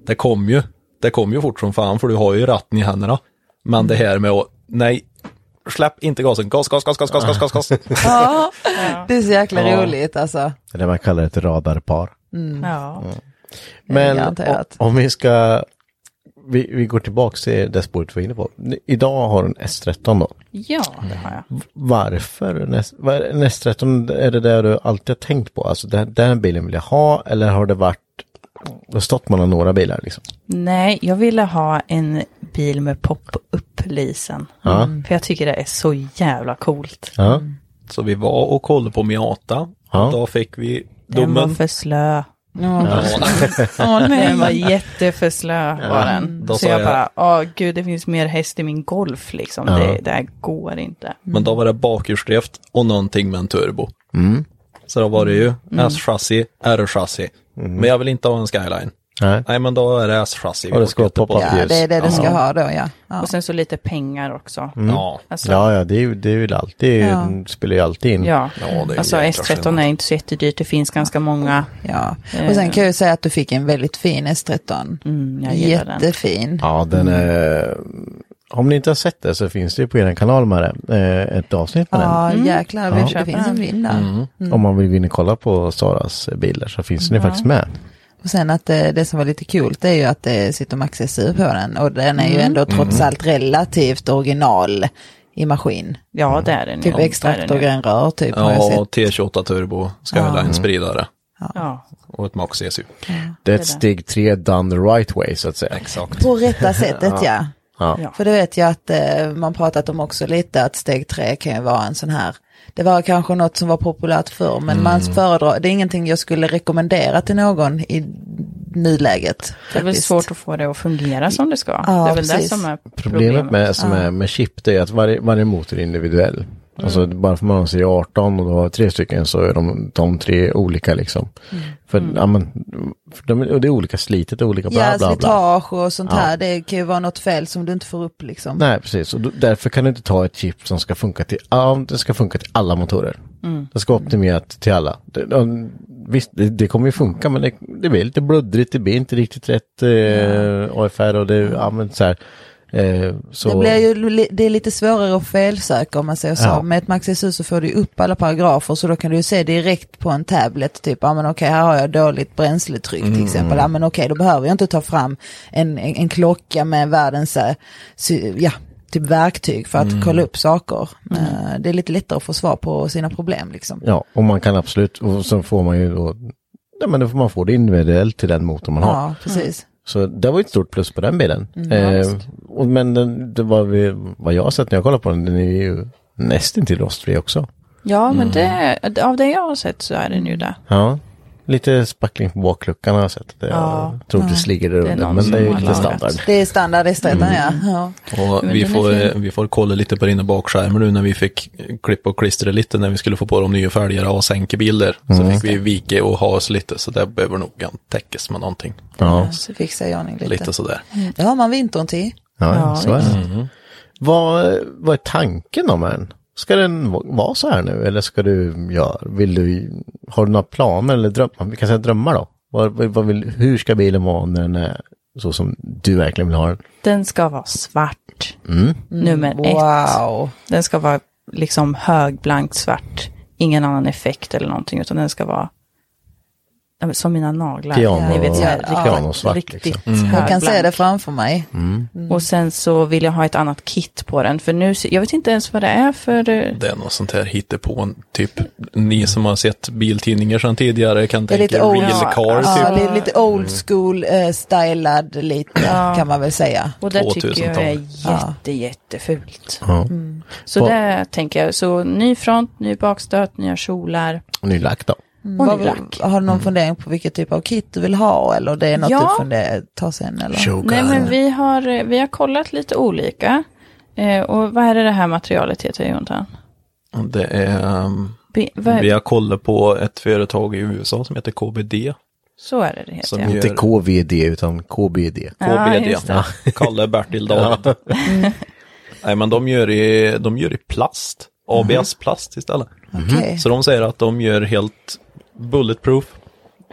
Speaker 5: Det kom ju, det kom ju fort som fan för du har ju ratten i händerna. Men det här med att, nej, släpp inte gasen, gas, gas, gas, gas, gas, gas, gas, gas.
Speaker 2: Ja, det är så jäkla
Speaker 5: Ja.
Speaker 2: roligt alltså.
Speaker 3: Det är det man kallar ett radarpar. Mm.
Speaker 8: Ja.
Speaker 3: Men
Speaker 2: Garanterat.
Speaker 3: o- om vi ska, vi, vi går tillbaka till det spåret vi var inne på. Ni- Idag har du en S13 då.
Speaker 8: ja, det har jag.
Speaker 3: Varför en, S, vad är det- en S13? Är det det du alltid har tänkt på? Alltså den, den bilen vill jag ha eller har det varit, det har stått mellan några bilar liksom?
Speaker 8: Nej, jag ville ha en bil med pop-up-lisen.
Speaker 3: Ja.
Speaker 2: Mm.
Speaker 8: För jag tycker det är så jävla coolt.
Speaker 3: Ja.
Speaker 5: Så vi var och kollade på Miata.
Speaker 3: Ja.
Speaker 5: Då fick vi
Speaker 8: Den var
Speaker 5: domen.
Speaker 8: för slö.
Speaker 2: Åh, nej.
Speaker 8: Den var jätteför slö var den.
Speaker 5: Då
Speaker 8: Så
Speaker 5: sa
Speaker 8: jag
Speaker 5: jag-
Speaker 8: bara, åh gud det finns mer häst i min golf liksom. Det, det här går inte.
Speaker 5: Men då var det bakhjulsdrift och någonting med en turbo.
Speaker 3: Mm.
Speaker 5: Så då var det ju
Speaker 8: Mm.
Speaker 5: S-chassi, R-chassi. Men jag vill inte ha en skyline.
Speaker 3: Mm. Nej.
Speaker 5: Nej, men då är det S-chassi. vi
Speaker 3: Och det ska
Speaker 5: åker till
Speaker 3: poppa upp
Speaker 5: Göteborg.
Speaker 2: Ja, det är det du ska ha då, ja. ja.
Speaker 8: Och sen så lite pengar också.
Speaker 5: Ja.
Speaker 8: Alltså, ja.
Speaker 3: Ja, ja, det, är ju- det är ju alltid, det spelar ju alltid in.
Speaker 5: Ja, det är
Speaker 8: alltså
Speaker 5: jäkla
Speaker 8: S13
Speaker 5: skillnad.
Speaker 8: är inte så jättedyrt, det finns ganska många.
Speaker 2: ja. Och sen kan jag ju säga att du fick en väldigt fin S13.
Speaker 8: Eh. Mm, jag gillar den.
Speaker 2: Jättefin.
Speaker 3: Ja, den är... Om ni inte har sett det så finns det ju på er kanal med det. eh, Ett avsnitt med
Speaker 2: Ja,
Speaker 8: Mm.
Speaker 2: jäklar, det finns- det
Speaker 8: Köper
Speaker 2: finns en
Speaker 8: den.
Speaker 2: bild där.
Speaker 3: den. Om man vill vinna kolla på Saras bilar så finns den ju faktiskt med.
Speaker 2: Och sen att det, det som var lite kul det är ju att eh, det sitter Max SU på den och den är ju ändå trots allt relativt original i maskin.
Speaker 8: Ja, det är den.
Speaker 2: Typ
Speaker 8: ja,
Speaker 2: extrakt
Speaker 8: det
Speaker 2: och
Speaker 8: är den.
Speaker 2: gränrör typ har jag
Speaker 5: Ja,
Speaker 2: sett.
Speaker 5: och T28 turbo, skyline, spridare
Speaker 8: Ja.
Speaker 5: och ett Max E ECU.
Speaker 3: Det är ett steg tre done the right way så att säga.
Speaker 5: Exakt.
Speaker 2: På rätta sättet ja.
Speaker 3: Ja.
Speaker 2: För det vet jag att eh, man pratat om också lite att steg tre kan ju vara en sån här. Det var kanske något som var populärt förr men man föredrar, det är ingenting jag skulle rekommendera till någon i nuläget.
Speaker 8: Det är väl
Speaker 2: faktiskt.
Speaker 8: svårt att få det att fungera som det ska.
Speaker 2: Ja,
Speaker 8: det är väl
Speaker 2: precis.
Speaker 8: det som är
Speaker 3: Problemet med, som är med chip det är att varje, varje motor är individuell. Alltså bara för man har serie 18 och då har tre stycken så är de, de tre olika liksom. För, ja, men, för de, och det är olika slitet och olika bla
Speaker 2: Ja,
Speaker 3: bla bla.
Speaker 2: slitage och sånt
Speaker 3: Ja.
Speaker 2: här, det kan ju vara något fel som du inte får upp liksom.
Speaker 3: Nej, precis. Och då- därför kan du inte ta ett chip som ska funka till, ja, det ska funka till alla motorer.
Speaker 2: Mm.
Speaker 3: Det ska optimerat till alla. Det, ja, visst, det, det kommer ju funka, men det, det blir lite bluddrigt, det blir inte riktigt rätt eh, AFR och det, ja men så här. Eh, så,
Speaker 2: Det, blir ju, li- det är lite svårare att felsöka om man säger så.
Speaker 3: Ja.
Speaker 2: Med ett Max SU så får du ju upp alla paragrafer så då kan du ju se direkt på en tablet typ, ja men okej här har jag dåligt bränsletryck
Speaker 3: Mm.
Speaker 2: till exempel, ja men okej då behöver jag inte ta fram en, en, en klocka med världens, eh, sy- ja, typ verktyg för att
Speaker 3: Mm.
Speaker 2: kolla upp saker. Eh, Det är lite lättare att få svar på sina problem liksom.
Speaker 3: Ja, och man kan absolut, och så får man ju då, nej men då får man få det individuellt till den motor man har.
Speaker 2: Ja, precis.
Speaker 3: Så det var ju ett stort plus på den bilen. eh, och, men den, det var vi, vad jag har sett när jag kollar på den, den är ju nästintill rostfri också.
Speaker 8: Ja,
Speaker 5: Mm.
Speaker 8: men det, av det jag har sett så är den ju det.
Speaker 3: Ja. Lite spackling på bakluckan har jag sett. Det,
Speaker 8: Ja.
Speaker 3: Jag tror inte det sligger där
Speaker 8: är
Speaker 3: under,
Speaker 8: någon
Speaker 3: men det är ju
Speaker 8: som har
Speaker 3: lite
Speaker 8: lagat.
Speaker 3: standard. Mm.
Speaker 2: Det är standard i striden, ja. ja.
Speaker 5: Och
Speaker 8: Men
Speaker 5: vi
Speaker 8: den är
Speaker 5: får, eh,
Speaker 8: fin.
Speaker 5: vi får kolla lite på dina bakskärmar nu när vi fick klippa och klistra lite när vi skulle få på de nya fälgarna och sänka bilder. Så fick vi vika och ha oss lite så det behöver nog täckas med någonting.
Speaker 3: Ja,
Speaker 2: Så fixar jag ordning lite.
Speaker 5: Lite sådär.
Speaker 2: Det har man vintern till.
Speaker 3: ja, så är det. Vad, vad är tanken om den? Ska den va- vara så här nu eller ska du göra, vill du, har du några planer eller drömmar? Vi kan säga drömmar då. Vad, vad vad vill, hur ska bilen vara när den är så som du verkligen vill ha den?
Speaker 4: Den ska vara svart. Nummer ett.
Speaker 2: Wow.
Speaker 4: Den ska vara liksom högblankt svart. Ingen annan effekt eller någonting, utan den ska vara ja, men som mina naglar.
Speaker 3: Piano-
Speaker 4: Ni vet, så här,
Speaker 2: ja,
Speaker 4: riktigt-
Speaker 3: pianosvart,
Speaker 4: riktigt
Speaker 3: liksom.
Speaker 5: Mm.
Speaker 2: Jag kan se
Speaker 4: högblank.
Speaker 2: det framför mig.
Speaker 4: Och sen så vill jag ha ett annat kit på den, för nu, ser- jag vet inte ens vad det är för... eh,
Speaker 5: Det är något sånt här hittepå, typ ni som har sett biltidningar sedan tidigare kan
Speaker 2: Det är
Speaker 5: tänka
Speaker 2: lite
Speaker 5: er
Speaker 2: old,
Speaker 5: real car
Speaker 2: ja,
Speaker 5: typ.
Speaker 2: det är lite old school eh, stylad lite kan man väl säga.
Speaker 4: Och det tycker jag är
Speaker 5: 2000-tal.
Speaker 4: jätte, jättefult.
Speaker 3: Ja.
Speaker 4: Så
Speaker 3: Vad-
Speaker 4: det tänker jag. Så ny front, ny bakstöt, nya kjolar.
Speaker 3: Och ny lack då?
Speaker 4: Och
Speaker 2: Vad-
Speaker 4: ny lack.
Speaker 2: Har du någon
Speaker 5: Mm.
Speaker 2: fundering på vilket typ av kit du vill ha eller det är något
Speaker 4: Ja.
Speaker 2: du funderar ta sen eller?
Speaker 4: Nej, men vi har, eh, vi har kollat lite olika. Eh, och vad är det det här materialet heter, Jonathan?
Speaker 5: Det är, um,
Speaker 4: Be, vad,
Speaker 5: vi har kollat på ett företag i USA som heter KBD.
Speaker 4: Så är det det heter,
Speaker 5: Som
Speaker 4: ja.
Speaker 5: gör-
Speaker 3: Inte KVD utan KBD.
Speaker 4: Ja,
Speaker 5: KBD.
Speaker 4: just det. Mm.
Speaker 5: Kalle Bertil David. Nej men de gör i, de gör i plast. ABS-plast istället.
Speaker 2: Okej.
Speaker 5: Så de säger att de gör helt bulletproof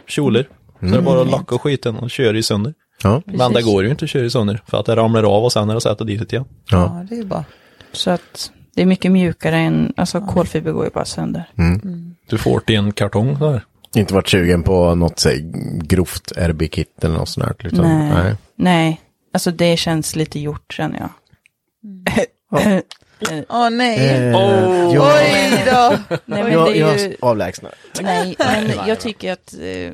Speaker 5: kjolar. Så det är bara att lacka och skiten och köra i sönder.
Speaker 3: Mm. Ja.
Speaker 5: Men det går ju inte att köra i sönder för att det ramlar av och sen är det sätta dit det igen.
Speaker 3: Ja.
Speaker 2: Ja, det är ju bra.
Speaker 4: Så att det är mycket mjukare än, alltså kolfiber går ju bara sönder.
Speaker 3: Mm.
Speaker 5: Du får det i en kartong så här.
Speaker 3: Inte varit sugen på något så här, grovt RB-kit eller något sånt här. liksom. Utan,
Speaker 4: Nej.
Speaker 3: nej.
Speaker 4: Nej, alltså det känns lite gjort känner jag.
Speaker 2: Åh nej.
Speaker 3: Eh, jag,
Speaker 2: Oj då.
Speaker 4: Nej, men
Speaker 3: jag,
Speaker 4: det är
Speaker 3: jag
Speaker 4: ju,
Speaker 3: avlägsnar.
Speaker 4: nej, men jag tycker att, eh,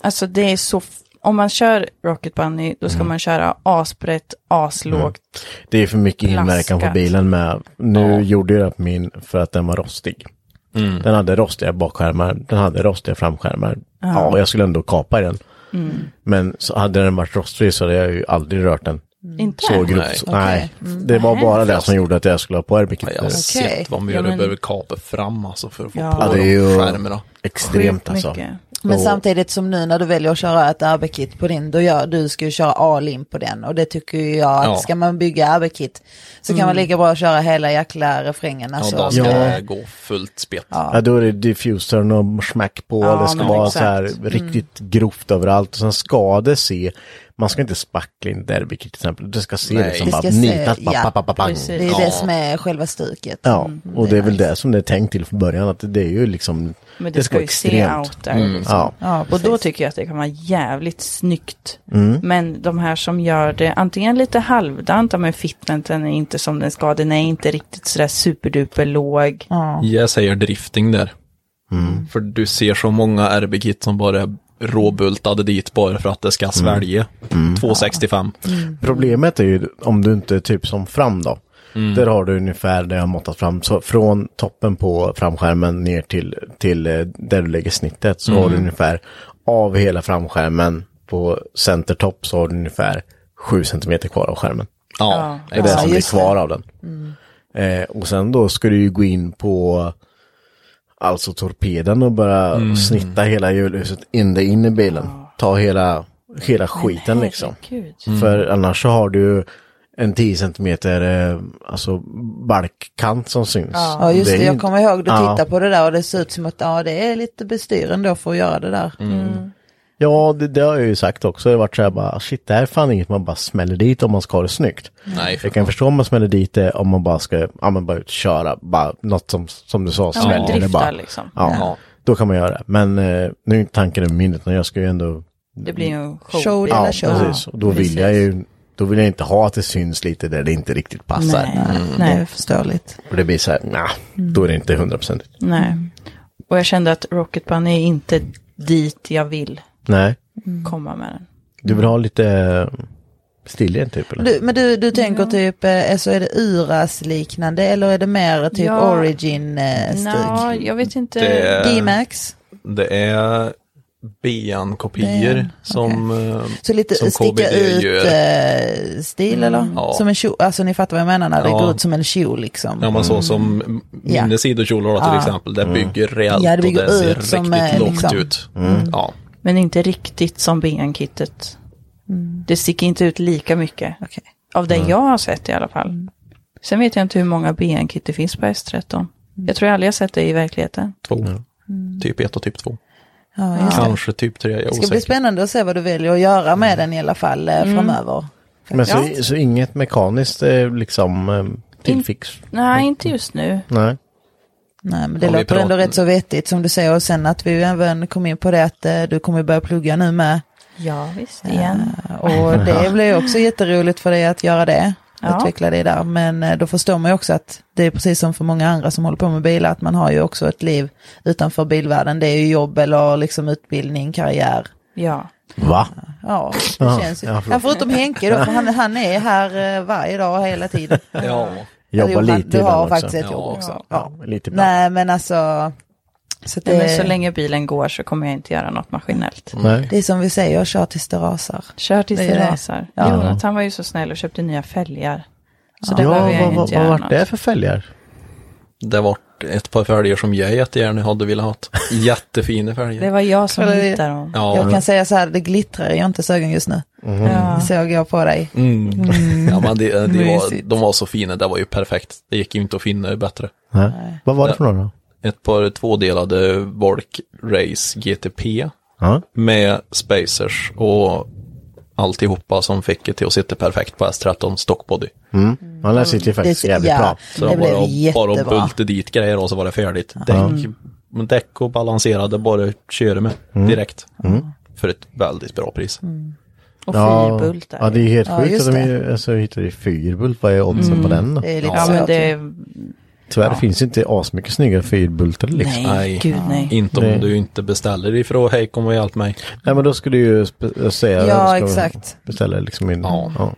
Speaker 4: alltså det är så, f- om man kör Rocket Bunny, då
Speaker 5: Mm.
Speaker 4: ska man köra asbrett, aslågt.
Speaker 3: Det är för mycket inverkan på
Speaker 4: Plaskat.
Speaker 3: bilen med. Nu gjorde jag det på min för att den var rostig. Den hade rostiga bakskärmar, den hade rostiga framskärmar. Ja, Mm. jag skulle ändå kapa i den. Men så hade den varit rostfri så hade jag ju aldrig rört den.
Speaker 4: Inte?
Speaker 3: Så grovt. Nej, det var bara det som gjorde att jag skulle ha på
Speaker 5: Ja,
Speaker 3: airbicket.
Speaker 5: jag har sett vad man gör.
Speaker 4: Ja,
Speaker 5: Du
Speaker 4: men-
Speaker 5: behöver kapa fram alltså för att få
Speaker 4: Ja.
Speaker 5: på
Speaker 3: Ja, det är
Speaker 5: de
Speaker 3: ju
Speaker 5: skärmarna.
Speaker 3: extremt alltså.
Speaker 4: Mycket.
Speaker 2: Men
Speaker 3: Och-
Speaker 2: samtidigt som nu när du väljer att köra ett RB-kit på din, då gör, du ska ju köra all-in på den. Och det tycker ju jag att
Speaker 5: Ja.
Speaker 2: ska man bygga RB-kit så
Speaker 4: Mm.
Speaker 2: kan man lika bra köra hela jäkla refrängen.
Speaker 5: Ja,
Speaker 2: Alltså.
Speaker 5: då ska
Speaker 3: Ja.
Speaker 5: det gå fullt spett.
Speaker 3: Ja, då är det diffusern och smack på.
Speaker 4: Ja,
Speaker 3: det ska
Speaker 4: men
Speaker 3: vara
Speaker 4: exakt. Mm.
Speaker 3: så här riktigt grovt överallt. Och sen ska det se, man ska inte spackla in derbyt till exempel. Det ska se
Speaker 5: Nej.
Speaker 3: liksom
Speaker 2: Det
Speaker 3: bara
Speaker 2: ska se-
Speaker 3: nitat.
Speaker 2: ja.
Speaker 3: Ja. Bang.
Speaker 4: Precis. Mm,
Speaker 2: Det är ju
Speaker 5: Ja.
Speaker 2: det som är själva stuket. Mm.
Speaker 3: Ja, och det är väl
Speaker 2: nice.
Speaker 3: det som det är tänkt till från början. Att det är ju liksom,
Speaker 4: Men det, ska ju se out där. liksom.
Speaker 3: Ja.
Speaker 2: Ja,
Speaker 4: Och då
Speaker 2: precis.
Speaker 4: tycker jag att det kan vara jävligt snyggt.
Speaker 5: Mm.
Speaker 4: Men de här som gör det antingen lite halvdant, ja, men fitneten är inte som den ska, den är inte riktigt sådär superduper låg.
Speaker 5: Jag säger drifting där. För du ser så många RB-kit som bara är råbultade dit bara för att det ska svälja. 265.
Speaker 3: Problemet är ju om du inte är typ som fram då.
Speaker 5: Mm.
Speaker 3: Där har du ungefär det jag har måttat fram. Så från toppen på framskärmen ner till, till eh, där du lägger snittet så
Speaker 5: Mm.
Speaker 3: har du ungefär av hela framskärmen på centertopp så har du ungefär 7 cm kvar av skärmen.
Speaker 5: Ja,
Speaker 3: Det är det
Speaker 5: exakt.
Speaker 3: som blir
Speaker 2: just
Speaker 3: kvar av den. Eh, och sen då ska du ju gå in på alltså torpeden och bara
Speaker 5: Mm.
Speaker 3: snitta hela hjulhuset ända in i bilen. Ta hela, hela skiten liksom.
Speaker 4: Herregud.
Speaker 5: Mm.
Speaker 3: För annars så har du en 10 centimeter eh, alltså balkkant som syns.
Speaker 2: Ja just det,
Speaker 3: är
Speaker 2: jag
Speaker 3: inte-
Speaker 2: kommer ihåg du
Speaker 3: Ja.
Speaker 2: tittar på det där och det ser ut som att ja, det är lite bestyr ändå för att göra det där.
Speaker 5: Mm.
Speaker 3: Ja, det, det har jag ju sagt också. Det har varit så här bara, shit, det här är fan inget man bara smäller dit om man ska ha det snyggt.
Speaker 5: Nej, för
Speaker 3: Jag kan förstå om man smäller dit det om man bara ska, ja men bara ut och köra, bara något som, som du sa,
Speaker 4: Ja, men
Speaker 3: sväljer det bara.
Speaker 4: driftar liksom.
Speaker 3: Ja,
Speaker 5: Ja.
Speaker 3: då kan man göra det. Men eh, nu är inte tanken över minnet, utan jag ska ju ändå...
Speaker 4: Det blir ju en show.
Speaker 2: Mm. Show
Speaker 3: Ja,
Speaker 2: eller show.
Speaker 3: precis. Och då vill jag ju... Då vill jag inte ha att det syns lite där det inte riktigt passar.
Speaker 4: Nej,
Speaker 2: Det
Speaker 4: nej,
Speaker 2: är förståeligt.
Speaker 3: Och det blir så här, nah, då är det inte hundraprocentigt.
Speaker 4: nej. Och jag kände att Rocket Bunny är inte dit jag vill
Speaker 3: Nej,
Speaker 4: komma med den.
Speaker 3: du vill ha lite eh, stilren typ eller?
Speaker 2: Du, men du, du tänker typ, eh, så är det Uras liknande eller är det mer typ
Speaker 4: Ja.
Speaker 2: origin-stuk?
Speaker 4: Nå, jag vet inte.
Speaker 5: Det-
Speaker 2: D-Max?
Speaker 5: det är BN-kopior
Speaker 2: BN,
Speaker 5: som... eh,
Speaker 2: Så lite
Speaker 5: Som
Speaker 2: sticka
Speaker 5: KBD
Speaker 2: ut
Speaker 5: gör. Mm.
Speaker 2: eh, stil eller?
Speaker 5: Ja.
Speaker 2: Som en kjol, alltså ni fattar vad jag menar när det
Speaker 5: Ja.
Speaker 2: går ut som en kjol liksom.
Speaker 5: Ja, men så som
Speaker 2: Ja.
Speaker 5: mina sidokjolar då, till exempel, det bygger rejält
Speaker 2: Ja, det bygger
Speaker 5: och det ser
Speaker 2: ut som, eh,
Speaker 5: riktigt lågt
Speaker 2: liksom.
Speaker 5: ut. Ja.
Speaker 4: Men inte riktigt som BN-kittet. Det sticker inte ut lika mycket.
Speaker 2: Mm, Okej.
Speaker 4: Av det jag har sett i alla fall.
Speaker 8: Sen vet jag inte hur många BN-kit det finns på S13. Jag tror jag aldrig jag sett det i verkligheten.
Speaker 5: Två. Typ 1 och typ 2.
Speaker 2: Ja, just det.
Speaker 5: Kanske typ 3, jag är
Speaker 2: det ska bli
Speaker 5: osäker.
Speaker 2: spännande att se vad du väljer att göra med
Speaker 3: Mm.
Speaker 2: den i alla fall
Speaker 8: Mm.
Speaker 2: eh, framöver.
Speaker 3: Men så, så inget mekaniskt eh, liksom eh, tillfix?
Speaker 8: Nej, inte just nu.
Speaker 3: Nej.
Speaker 2: Nej, men det
Speaker 5: Om vi
Speaker 2: låter ändå
Speaker 5: pratar-
Speaker 2: rätt så vettigt som du säger. Och sen att vi ju även kom in på det att eh, du kommer börja plugga nu med. Eh,
Speaker 8: Ja, visst. Igen.
Speaker 2: Och det blir ju också jätteroligt för dig att göra det.
Speaker 8: Ja.
Speaker 2: Utveckla dig där. Men eh, då förstår man ju också att det är precis som för många andra som håller på med bilar. Att man har ju också ett liv utanför bilvärlden. Det är ju jobb eller liksom utbildning, karriär.
Speaker 8: Ja.
Speaker 3: Va?
Speaker 2: Ja, det
Speaker 3: Ja,
Speaker 2: känns ju.
Speaker 3: ja,
Speaker 2: Ja,
Speaker 3: förlåt.
Speaker 2: förutom Henke då, för han, han är här eh, varje dag hela tiden.
Speaker 5: Ja.
Speaker 2: Eller jo,
Speaker 3: Jobba
Speaker 2: han-
Speaker 3: lite
Speaker 2: Du har
Speaker 3: ibland
Speaker 2: faktiskt
Speaker 3: också.
Speaker 2: ett jobb
Speaker 5: Ja.
Speaker 2: också.
Speaker 3: Ja, lite ibland.
Speaker 2: Nej, men alltså. Så
Speaker 8: Nej, men
Speaker 2: det,
Speaker 8: så länge bilen går så kommer jag inte göra något maskinellt.
Speaker 3: Nej.
Speaker 2: det är som vi säger, kör tills det rasar.
Speaker 8: Kör tills
Speaker 2: Det
Speaker 8: det
Speaker 2: är det.
Speaker 8: rasar.
Speaker 2: Ja.
Speaker 8: Jonathan var ju så snäll och köpte nya fälgar. Så där
Speaker 3: Ja,
Speaker 8: behöver jag
Speaker 3: vad,
Speaker 8: ju
Speaker 3: vad,
Speaker 8: inte
Speaker 3: vad
Speaker 8: göra
Speaker 3: vart
Speaker 8: något.
Speaker 3: det för fälgar?
Speaker 5: Det var ett par fälgar som jag jättegärna hade velat ha. Jättefina fälgar.
Speaker 8: Det var jag som
Speaker 2: Kolla, det-
Speaker 8: hittade dem.
Speaker 5: Ja.
Speaker 2: Jag kan säga så här, det glittrar i Jontes ögon just nu.
Speaker 8: Ja.
Speaker 2: Såg jag på dig.
Speaker 5: Mm. Ja, men det, det var,
Speaker 2: Mm. Mysigt.
Speaker 5: de var så fina, det var ju perfekt. Det gick ju inte att finna bättre.
Speaker 3: Nej. Vad var det för några? då?
Speaker 5: Ett par tvådelade Volk Race GTP
Speaker 3: Ja.
Speaker 5: med spacers och alltihopa som fick det till att sitta perfekt på S13 stockbody.
Speaker 3: Mm. Ja, den sitter ju faktiskt
Speaker 2: Det-
Speaker 3: jävligt
Speaker 2: ja.
Speaker 3: bra.
Speaker 5: Så
Speaker 2: Det
Speaker 5: det
Speaker 2: blev
Speaker 5: bara, bara
Speaker 2: jättebra.
Speaker 5: att bulta dit grejer och så var det färdigt. Däck, däck och balanserade, bara köra med direkt. För ett väldigt bra pris.
Speaker 2: Mm.
Speaker 8: Och
Speaker 3: Ja,
Speaker 8: fyrbult där.
Speaker 3: ja, det är ju helt
Speaker 2: Ja,
Speaker 3: sjukt
Speaker 2: just
Speaker 3: att de
Speaker 2: det.
Speaker 3: ju, alltså, hittade fyrbult. Vad är oddsen på den då?
Speaker 2: Det är lite
Speaker 8: Ja,
Speaker 2: så.
Speaker 8: men det...
Speaker 3: Tyvärr finns ju inte asmycket snygga fyrbultade liksom. Nej.
Speaker 8: Nej,
Speaker 5: Nej.
Speaker 8: gud nej.
Speaker 5: Inte om
Speaker 3: Det-
Speaker 5: du inte beställer ifrån Hej kom och hjälp mig.
Speaker 3: men då skulle du ju spe- eh, säga.
Speaker 2: Ja,
Speaker 3: ska
Speaker 2: exakt.
Speaker 3: Beställa liksom in. Ja. ja.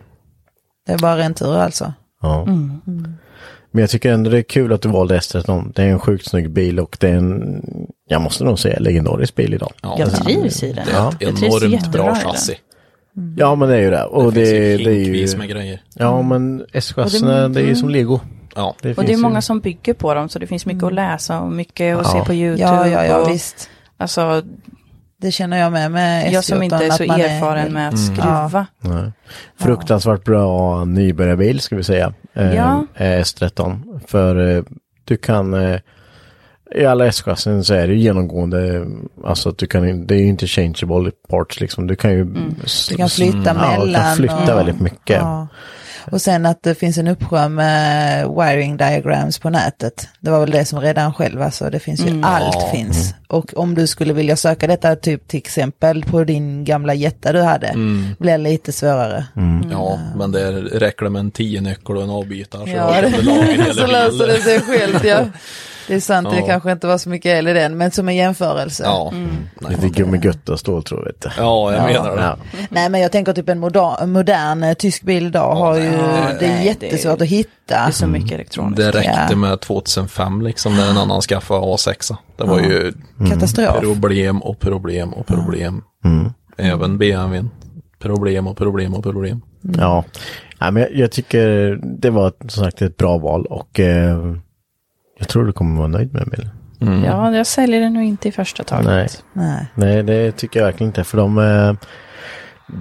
Speaker 2: Det är bara ren tur alltså.
Speaker 3: Men jag tycker ändå det är kul att du valde S13. Det är en sjukt snygg bil och det är en, jag måste nog säga, legendarisk bil idag.
Speaker 5: Ja,
Speaker 8: Jag trivs i den.
Speaker 5: Det är ett
Speaker 8: Jag trivs
Speaker 5: enormt
Speaker 8: jättebra i
Speaker 5: bra
Speaker 8: den.
Speaker 5: chassi.
Speaker 3: Ja, men det är ju det. Och det,
Speaker 5: finns ju
Speaker 3: det, är
Speaker 5: hinkvis
Speaker 3: ju...
Speaker 5: med grejer.
Speaker 3: Ja, men S-chassorna, det är ju som lego.
Speaker 5: Ja.
Speaker 8: Och det är
Speaker 3: finns ju- Mm.
Speaker 8: många som bygger på dem, så det finns mycket att läsa och mycket att se på YouTube.
Speaker 2: Ja, ja, ja,
Speaker 8: och,
Speaker 2: visst.
Speaker 8: Alltså,
Speaker 2: Det känner jag med med
Speaker 8: jag som inte
Speaker 2: S14,
Speaker 8: är
Speaker 2: att
Speaker 8: så
Speaker 2: man Mm.
Speaker 8: erfaren med att skruva.
Speaker 3: Nej. Fruktansvärt bra nybörjarbil ska vi säga. Eh,
Speaker 8: Ja.
Speaker 3: eh, S13. För eh, du kan eh, i alla S-chassin så är det ju genomgående, eh, alltså att du kan, det är ju inte changeable parts liksom. Du kan ju... s-
Speaker 2: Mm. Du kan flytta
Speaker 3: Mm. ja, du
Speaker 2: mellan
Speaker 3: kan flytta
Speaker 2: och-
Speaker 3: väldigt mycket.
Speaker 2: Ja. Och sen att det finns en uppsjö med wiring diagrams på nätet. Det var väl det som redan själv, alltså det finns ju
Speaker 5: Mm.
Speaker 2: allt finns. Och om du skulle vilja söka detta typ till exempel på din gamla jätta du hade,
Speaker 5: Mm.
Speaker 2: blir det lite svårare.
Speaker 3: Mm.
Speaker 8: Mm.
Speaker 5: Ja, men det är- räcker det med en 10-nyckel och en avbytare så
Speaker 2: Ja,
Speaker 5: har du lagen
Speaker 2: så
Speaker 5: hela
Speaker 2: löser
Speaker 5: bilen.
Speaker 2: det sig självt, ja. Det är sant, det
Speaker 5: Ja.
Speaker 2: kanske inte var så mycket el i den, men som en jämförelse.
Speaker 5: Ja.
Speaker 8: Mm.
Speaker 3: Lite gummigutta ståltråd vet du.
Speaker 5: ja, jag menar det.
Speaker 3: Ja.
Speaker 2: Nej men jag tänker typ en modern, modern eh, tysk bil idag har ju, det är
Speaker 8: nej,
Speaker 2: jättesvårt
Speaker 8: det-
Speaker 2: att hitta.
Speaker 8: Det är så mycket elektroniskt.
Speaker 5: Det
Speaker 2: Ja.
Speaker 5: räckte med 2005 liksom när en annan skaffade A6. Det var ju
Speaker 2: Katastrof.
Speaker 5: problem och problem och problem. Även BMWn. Problem och problem och problem.
Speaker 3: Ja, Nej, men jag, jag tycker det var som sagt ett bra val och eh, jag tror du kommer vara nöjd med bilen.
Speaker 8: Ja, jag säljer den nog inte i första taget.
Speaker 3: Mm. Nej.
Speaker 2: Nej.
Speaker 3: Nej, det tycker jag verkligen inte. För de... Eh,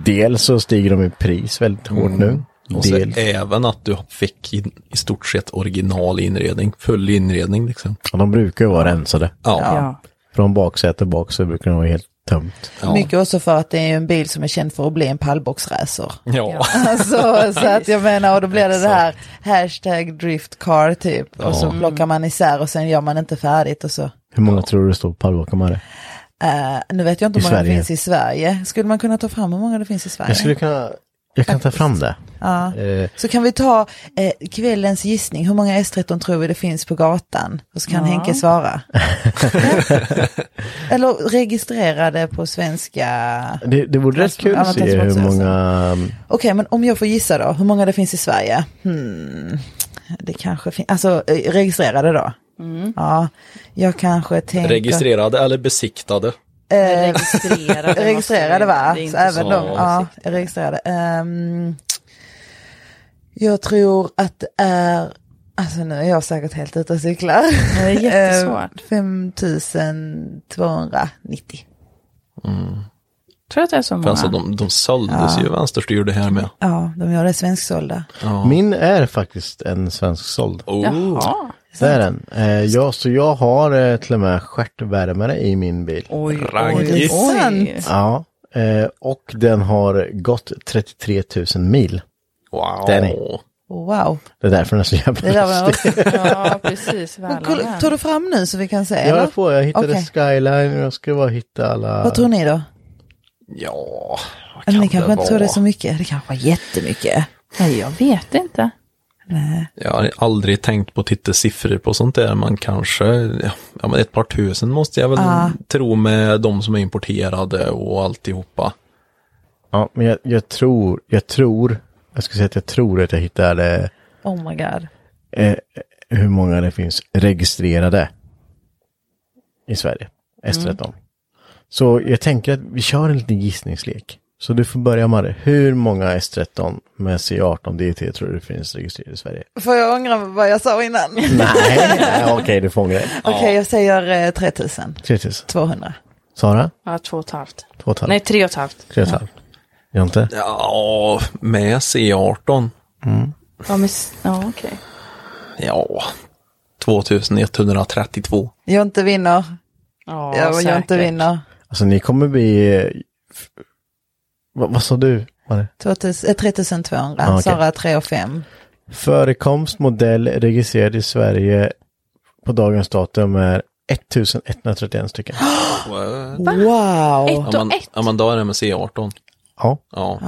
Speaker 3: dels så stiger de i pris väldigt hårt nu.
Speaker 5: Och så
Speaker 3: Dels,
Speaker 5: även att du fick i, i stort sett original inredning, full inredning liksom.
Speaker 3: ja, de brukar ju vara rensade.
Speaker 5: Ja,
Speaker 8: Ja.
Speaker 3: Från baksäte bak så brukar de vara helt tömt.
Speaker 5: ja.
Speaker 2: Mycket också för att det är en bil som är känd för att bli en pallboxracer.
Speaker 5: ja.
Speaker 2: Alltså, så att jag menar, och då blir det det här hashtag driftcar typ. Och så plockar man isär och sen gör man inte färdigt och så.
Speaker 3: Hur många tror du står på pallbakamare?
Speaker 2: Eh, nu vet jag inte
Speaker 3: I
Speaker 2: hur många
Speaker 3: Sverige.
Speaker 2: det finns i Sverige. Skulle man kunna ta fram hur många det finns i Sverige?
Speaker 3: Jag skulle kunna... Jag kan ta fram det.
Speaker 2: Ja.
Speaker 3: Eh,
Speaker 2: Så kan vi ta eh, kvällens gissning. Hur många S13 tror vi det finns på gatan? Och så kan Henke svara. Eller registrera det på svenska.
Speaker 3: det, det vore rätt kul att
Speaker 2: Ja,
Speaker 3: se hur
Speaker 2: transportstyrelsen.
Speaker 3: många...
Speaker 2: Okej, men om jag får gissa då, hur många det finns i Sverige? Hmm. Det kanske finns, alltså eh, registrerade då? Ja, jag kanske tänker...
Speaker 5: Registrerade eller besiktade.
Speaker 8: Men
Speaker 2: Eh,
Speaker 8: Registrerade. måste
Speaker 2: registrerade
Speaker 8: vi-
Speaker 2: va?
Speaker 8: det är
Speaker 2: Så
Speaker 8: inte
Speaker 2: även
Speaker 5: så-
Speaker 2: de, ja, registrerade. Ehm, jag tror att det är, alltså nu är jag säkert helt ute och cyklar. Ehm,
Speaker 8: Det är jättesvårt.
Speaker 2: Eh, 5290.
Speaker 8: Tror du att det är så
Speaker 5: För
Speaker 8: många?
Speaker 5: alltså de, de såldes ju vänsterstyrde här med.
Speaker 2: Ja, de gör det svensksålda.
Speaker 3: Min är faktiskt en svensk såld.
Speaker 5: Oh,
Speaker 8: Jaha.
Speaker 3: Det är den. Eh, jag, så jag har eh, till och med stjärtvärmare i min bil.
Speaker 8: Oj, oj,
Speaker 5: Raggis.
Speaker 8: oj.
Speaker 3: Ja. Eh, och den har gått 33 000 mil.
Speaker 5: Wow.
Speaker 3: Den är-
Speaker 2: Wow.
Speaker 3: Det är därför den är så jävla
Speaker 2: Det där var
Speaker 3: lustig.
Speaker 2: också...
Speaker 8: Ja, precis. Väl
Speaker 2: Kolla, tar du fram nu så vi kan se?
Speaker 3: Ja,
Speaker 2: Eller?
Speaker 3: jag får. Jag hittade
Speaker 2: Okej.
Speaker 3: skyline och jag ska bara hitta alla.
Speaker 2: Vad tror ni då?
Speaker 5: Ja, vad
Speaker 2: Eller
Speaker 5: kan
Speaker 2: ni kanske
Speaker 5: det
Speaker 2: inte tror det
Speaker 5: vara?
Speaker 2: är så mycket? Det kanske var jättemycket.
Speaker 8: Nej, jag vet inte.
Speaker 5: Jag har aldrig tänkt på att titta siffror på sånt där, man kanske, ja, ja men ett par tusen måste jag väl tro med de som är importerade och alltihopa.
Speaker 3: Ja, men jag, jag tror, jag tror, jag ska säga att jag tror att jag hittade
Speaker 8: Oh my god.
Speaker 3: eh, hur många det finns registrerade i Sverige. S13. Så jag tänker att vi kör en liten gissningslek. Så du får börja Marre. Hur många S13 med C18 DT tror du det finns registrerat i Sverige?
Speaker 2: Får jag ångra vad jag sa innan? Okej,
Speaker 3: Nej, nej, okej du fångar det.
Speaker 2: jag säger eh, 3000.
Speaker 3: 3000.
Speaker 2: 200.
Speaker 3: Sara?
Speaker 8: Ja, två och ett halvt.
Speaker 3: 2,5?
Speaker 8: Nej, tre och ett halvt.
Speaker 3: 3,5? Jonte?
Speaker 5: Ja, med C18,
Speaker 3: Mm.
Speaker 8: Ja, men, s- ja okej.
Speaker 5: ja, 2132.
Speaker 2: Jag inte vinner.
Speaker 8: Ja,
Speaker 2: Jag, jag inte
Speaker 8: säkert.
Speaker 2: vinner.
Speaker 3: Alltså ni kommer bli... eh, f- Vad, vad sa du? Marre?
Speaker 2: 2000, eh, 3200.
Speaker 3: Ah, okej.
Speaker 2: Sara 3 och 5.
Speaker 3: Förekomst modell registrerad i Sverige på dagens datum är 1131 stycken.
Speaker 2: Wow.
Speaker 8: Ett
Speaker 5: Ja
Speaker 8: och
Speaker 5: men,
Speaker 8: ett.
Speaker 5: ja men då är det med C18.
Speaker 3: Ja,
Speaker 5: Ja,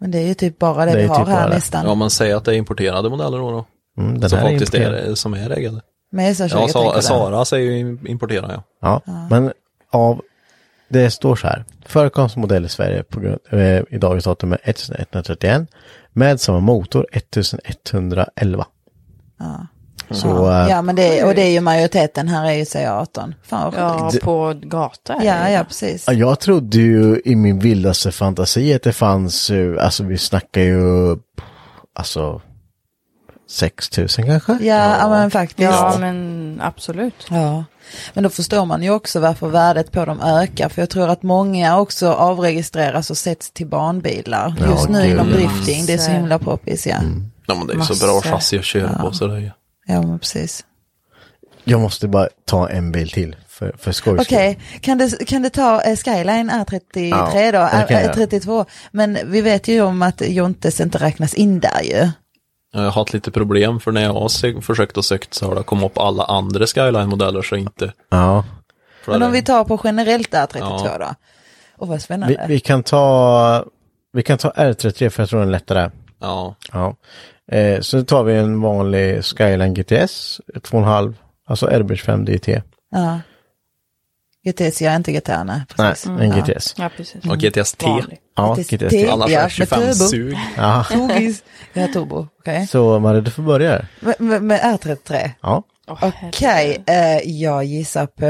Speaker 2: Men det är ju typ bara det,
Speaker 3: Det är
Speaker 2: vi har
Speaker 3: typ
Speaker 2: här
Speaker 3: bara det.
Speaker 2: nästan.
Speaker 5: ja man säger att det är importerade modeller då. då.
Speaker 3: mm, den
Speaker 5: Så
Speaker 3: här
Speaker 5: faktiskt är
Speaker 3: importerad.
Speaker 5: det som är ägade.
Speaker 2: Med så
Speaker 5: Ja, Sa, Sara säger ju importerad ja.
Speaker 3: Ja, men av... Det står så här. Förekomst modell i Sverige på grund, eh, i dagens datum är 1131 med samma motor 1111. Så eh,
Speaker 2: Ja, men det, är- och det är ju majoriteten. Här är ju säger 18. Fan vad sjukt.
Speaker 8: Ja, på gata.
Speaker 2: Ja, ja, precis.
Speaker 3: Ja, Jag trodde ju i min vildaste fantasi att det fanns, eh, alltså vi snackar ju, pff, alltså 6000 kanske?
Speaker 2: Ja, ja, men faktiskt.
Speaker 8: Ja, men absolut.
Speaker 2: Ja, men då förstår man ju också varför värdet på dem ökar. För jag tror att många också avregistreras och sätts till barnbilar.
Speaker 3: Ja, Mm.
Speaker 2: Just nu
Speaker 3: gud.
Speaker 2: inom drifting, det är så
Speaker 8: Massor.
Speaker 2: himla poppis. Ja,
Speaker 5: Ja men det är ju så
Speaker 8: Massor.
Speaker 5: bra chassi att köra på så det är ju.
Speaker 2: ja men precis.
Speaker 3: Jag måste bara ta en bil till för, för skojs skull.
Speaker 2: Okej, kan, du, kan du ta eh, Skyline R33
Speaker 3: Ja,
Speaker 2: då?
Speaker 3: det kan jag.
Speaker 2: R32. Men vi vet ju om att Jontes inte räknas in där ju.
Speaker 5: Jag har haft lite problem för när jag har sö- försökt och sökt så har det kommit upp alla andra Skyline-modeller så inte.
Speaker 3: Ja.
Speaker 5: för
Speaker 2: Men
Speaker 5: det-
Speaker 2: om vi tar på generellt R32
Speaker 5: Ja.
Speaker 2: då? Och vad
Speaker 3: Vi,
Speaker 2: spännande.
Speaker 3: vi kan ta, vi kan ta R33 för jag tror den är lättare.
Speaker 5: Ja,
Speaker 3: Ja. Eh, så tar vi en vanlig Skyline GTS, 2,5, alltså Airbridge 5 DT.
Speaker 2: Ja. GTS, jag är inte GTA, nej.
Speaker 3: Nej,
Speaker 2: Precis.
Speaker 8: Mm.
Speaker 2: Mm.
Speaker 3: en GTS.
Speaker 8: Ja, precis.
Speaker 5: och GTS T.
Speaker 8: Vanlig.
Speaker 3: Ja,
Speaker 2: GTS.
Speaker 3: GTS. Ja.
Speaker 2: Mm.
Speaker 5: Annars
Speaker 2: Ja,
Speaker 5: är det
Speaker 2: med
Speaker 5: 25
Speaker 2: turbo.
Speaker 5: sug.
Speaker 2: Togis. Ja, turbo, okej.
Speaker 3: Så Marie, du får börja. här.
Speaker 2: Men- men- men R33?
Speaker 3: Ja.
Speaker 8: Åh,
Speaker 2: Okej, eh, jag gissar på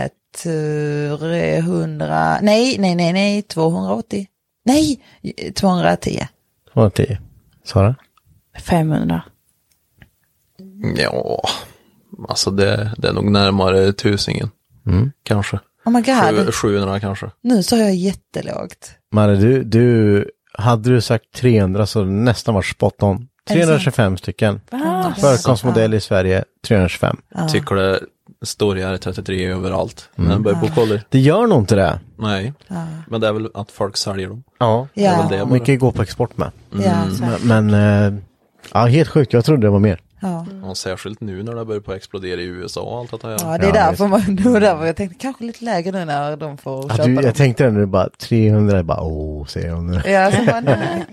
Speaker 2: eh, 300, nej, nej, nej, nej, 280. Nej, 210.
Speaker 3: 210. Sara?
Speaker 8: 500.
Speaker 5: Ja, alltså det, det är nog närmare tusingen. Kanske.
Speaker 2: Oh my
Speaker 5: Sju-
Speaker 2: god,
Speaker 5: 700 kanske.
Speaker 2: nu sa jag jättelågt.
Speaker 3: Marre, du, du, hade du sagt 300 så hade det nästan varit spot on. 325 stycken. Förekomstmodell i Sverige, 325.
Speaker 5: Tycker det står i R33 överallt. Men jag börjar på kolla.
Speaker 3: Det gör nog inte det.
Speaker 5: Nej, men det är väl att folk säljer dem.
Speaker 3: Ja.
Speaker 5: Det är
Speaker 2: Ja,
Speaker 5: väl det bara.
Speaker 3: Mycket går på export med.
Speaker 2: ja,
Speaker 3: Mm. Men, men eh, ja, helt sjukt. Jag trodde det var mer.
Speaker 2: ja.
Speaker 5: Och särskilt nu när det börjar på att explodera i USA och allt det här.
Speaker 2: ja, det är
Speaker 3: Ja,
Speaker 2: därför man, det var därför jag tänkte kanske lite lägre nu när de får
Speaker 3: Ja,
Speaker 2: köpa
Speaker 3: du,
Speaker 2: dem.
Speaker 3: jag tänkte det nu, bara 300, jag bara åh, säger hon nu.
Speaker 2: Ja, så bara, nej.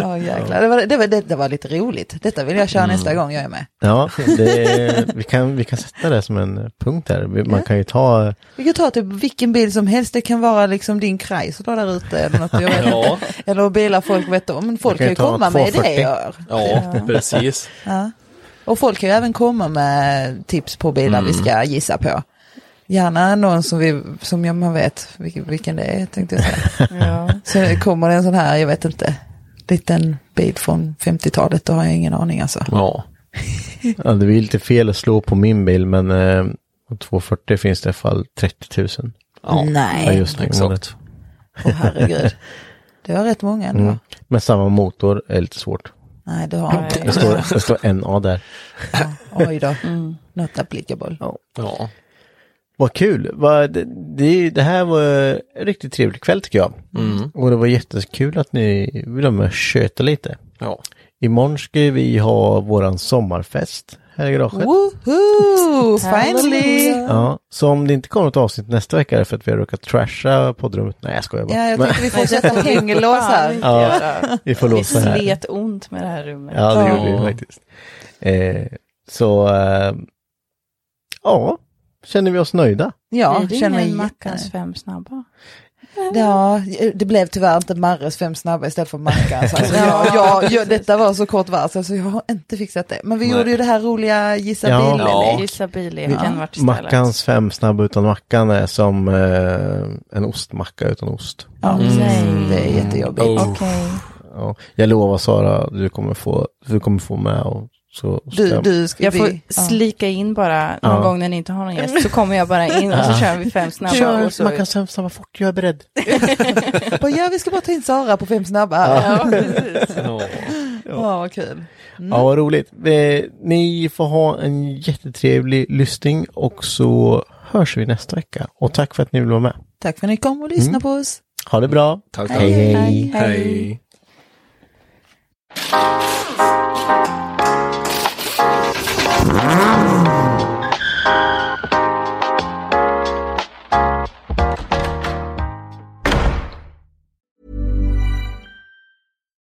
Speaker 2: Ja, jäklar. Det, var, det, var, det, det var lite roligt. Detta vill jag köra nästa gång jag är med.
Speaker 3: Ja, det, vi, kan, vi kan sätta det som en punkt här. Vi- Man kan ju ta,
Speaker 2: Vi kan ta typ vilken bil som helst, det kan vara liksom din Chrysler där ute eller något. Jag vet
Speaker 5: Ja.
Speaker 2: inte. Eller bilar folk vet om. Men folk kan
Speaker 3: kan ju
Speaker 2: ju
Speaker 3: ta
Speaker 2: komma
Speaker 3: en
Speaker 2: med
Speaker 3: 240.
Speaker 2: idéer.
Speaker 5: Ja, precis.
Speaker 2: Och folk kan ju även komma med tips på bilar vi ska gissa på. Gärna någon som, vi, som jag, man vet vilken, vilken det är tänkte jag säga.
Speaker 8: Ja.
Speaker 2: Så kommer det en sån här, jag vet inte, liten bil från 50-talet, då har jag ingen aning alltså.
Speaker 5: Ja,
Speaker 3: ja, det blir lite fel att slå på min bil, men eh, på 240 finns det i alla fall 30 000.
Speaker 5: ja
Speaker 3: Ja,
Speaker 2: Nej.
Speaker 3: just nu.
Speaker 5: exakt.
Speaker 2: Åh herregud. Det var rätt många ändå.
Speaker 3: Mm. Men samma motor är lite svårt.
Speaker 2: Nej, det har jag
Speaker 3: Det
Speaker 2: inte.
Speaker 3: står, det står NA där.
Speaker 2: Ja, Oj då.
Speaker 5: Mm.
Speaker 2: Not applicable.
Speaker 4: Ja.
Speaker 3: Vad kul! Vad- det, det, det här var en riktigt trevlig kväll tycker jag. Och det var jättekul att ni ville vara med och köta lite.
Speaker 4: ja.
Speaker 3: Imorgon ska vi ha våran sommarfest här i garaget.
Speaker 2: Woohoo! Finally!
Speaker 3: Ja, så om det inte kommer ett avsnitt nästa vecka är det för att vi har råkat trasha poddrummet. Nej, jag skojar bara.
Speaker 2: Ja, jag
Speaker 3: Men,
Speaker 2: tänkte vi får sätta hängelås här.
Speaker 5: Ja.
Speaker 3: vi får
Speaker 5: Vi
Speaker 3: låsa här.
Speaker 5: slet ont med det här rummet.
Speaker 3: Ja, det gjorde vi
Speaker 4: Ja.
Speaker 3: faktiskt. Eh, så, eh, ja, känner vi oss nöjda?
Speaker 2: Ja,
Speaker 5: Blir det
Speaker 2: känner mig
Speaker 5: ingen
Speaker 2: jättenöjd.
Speaker 5: Mackans fem snabba?
Speaker 2: Ja, det blev tyvärr inte Marres fem snabba istället för Mackans. Alltså, jag, jag, jag, detta var så kort varsel så jag har inte fixat det. Men vi
Speaker 4: Nej.
Speaker 2: gjorde ju det här roliga gissa
Speaker 3: Ja.
Speaker 2: bilen.
Speaker 4: Ja.
Speaker 5: Gissa billeken vart istället.
Speaker 3: Mackans fem snabba utan mackan är som eh, en ostmacka utan ost.
Speaker 2: Ja,
Speaker 5: Mm.
Speaker 2: Det är jättejobbigt.
Speaker 4: Oh.
Speaker 5: Okej.
Speaker 3: Ja, jag lovar Sara, du kommer få, du kommer få med och så.
Speaker 2: Du, du ska
Speaker 5: Jag får
Speaker 2: bli...
Speaker 5: slika in bara någon
Speaker 3: Ja.
Speaker 5: gång när ni inte har någon gäst. Så kommer jag bara in och så kör vi fem snabba. Och så...
Speaker 3: Mackans fem snabba fort, jag är beredd.
Speaker 2: Ja. Bara, ja, vi ska bara ta in Sara på fem snabba. här.
Speaker 5: Ja, precis.
Speaker 4: ja.
Speaker 2: Ja, vad kul.
Speaker 3: Mm. Ja, vad roligt. Eh, ni får ha en jättetrevlig lyssning och så hörs vi nästa vecka. Och tack för att ni vill vara med.
Speaker 2: Tack för att ni kom och lyssnade på oss.
Speaker 3: Ha det bra.
Speaker 4: Tack, tack.
Speaker 3: Hej, hej.
Speaker 4: Hej.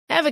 Speaker 9: Ever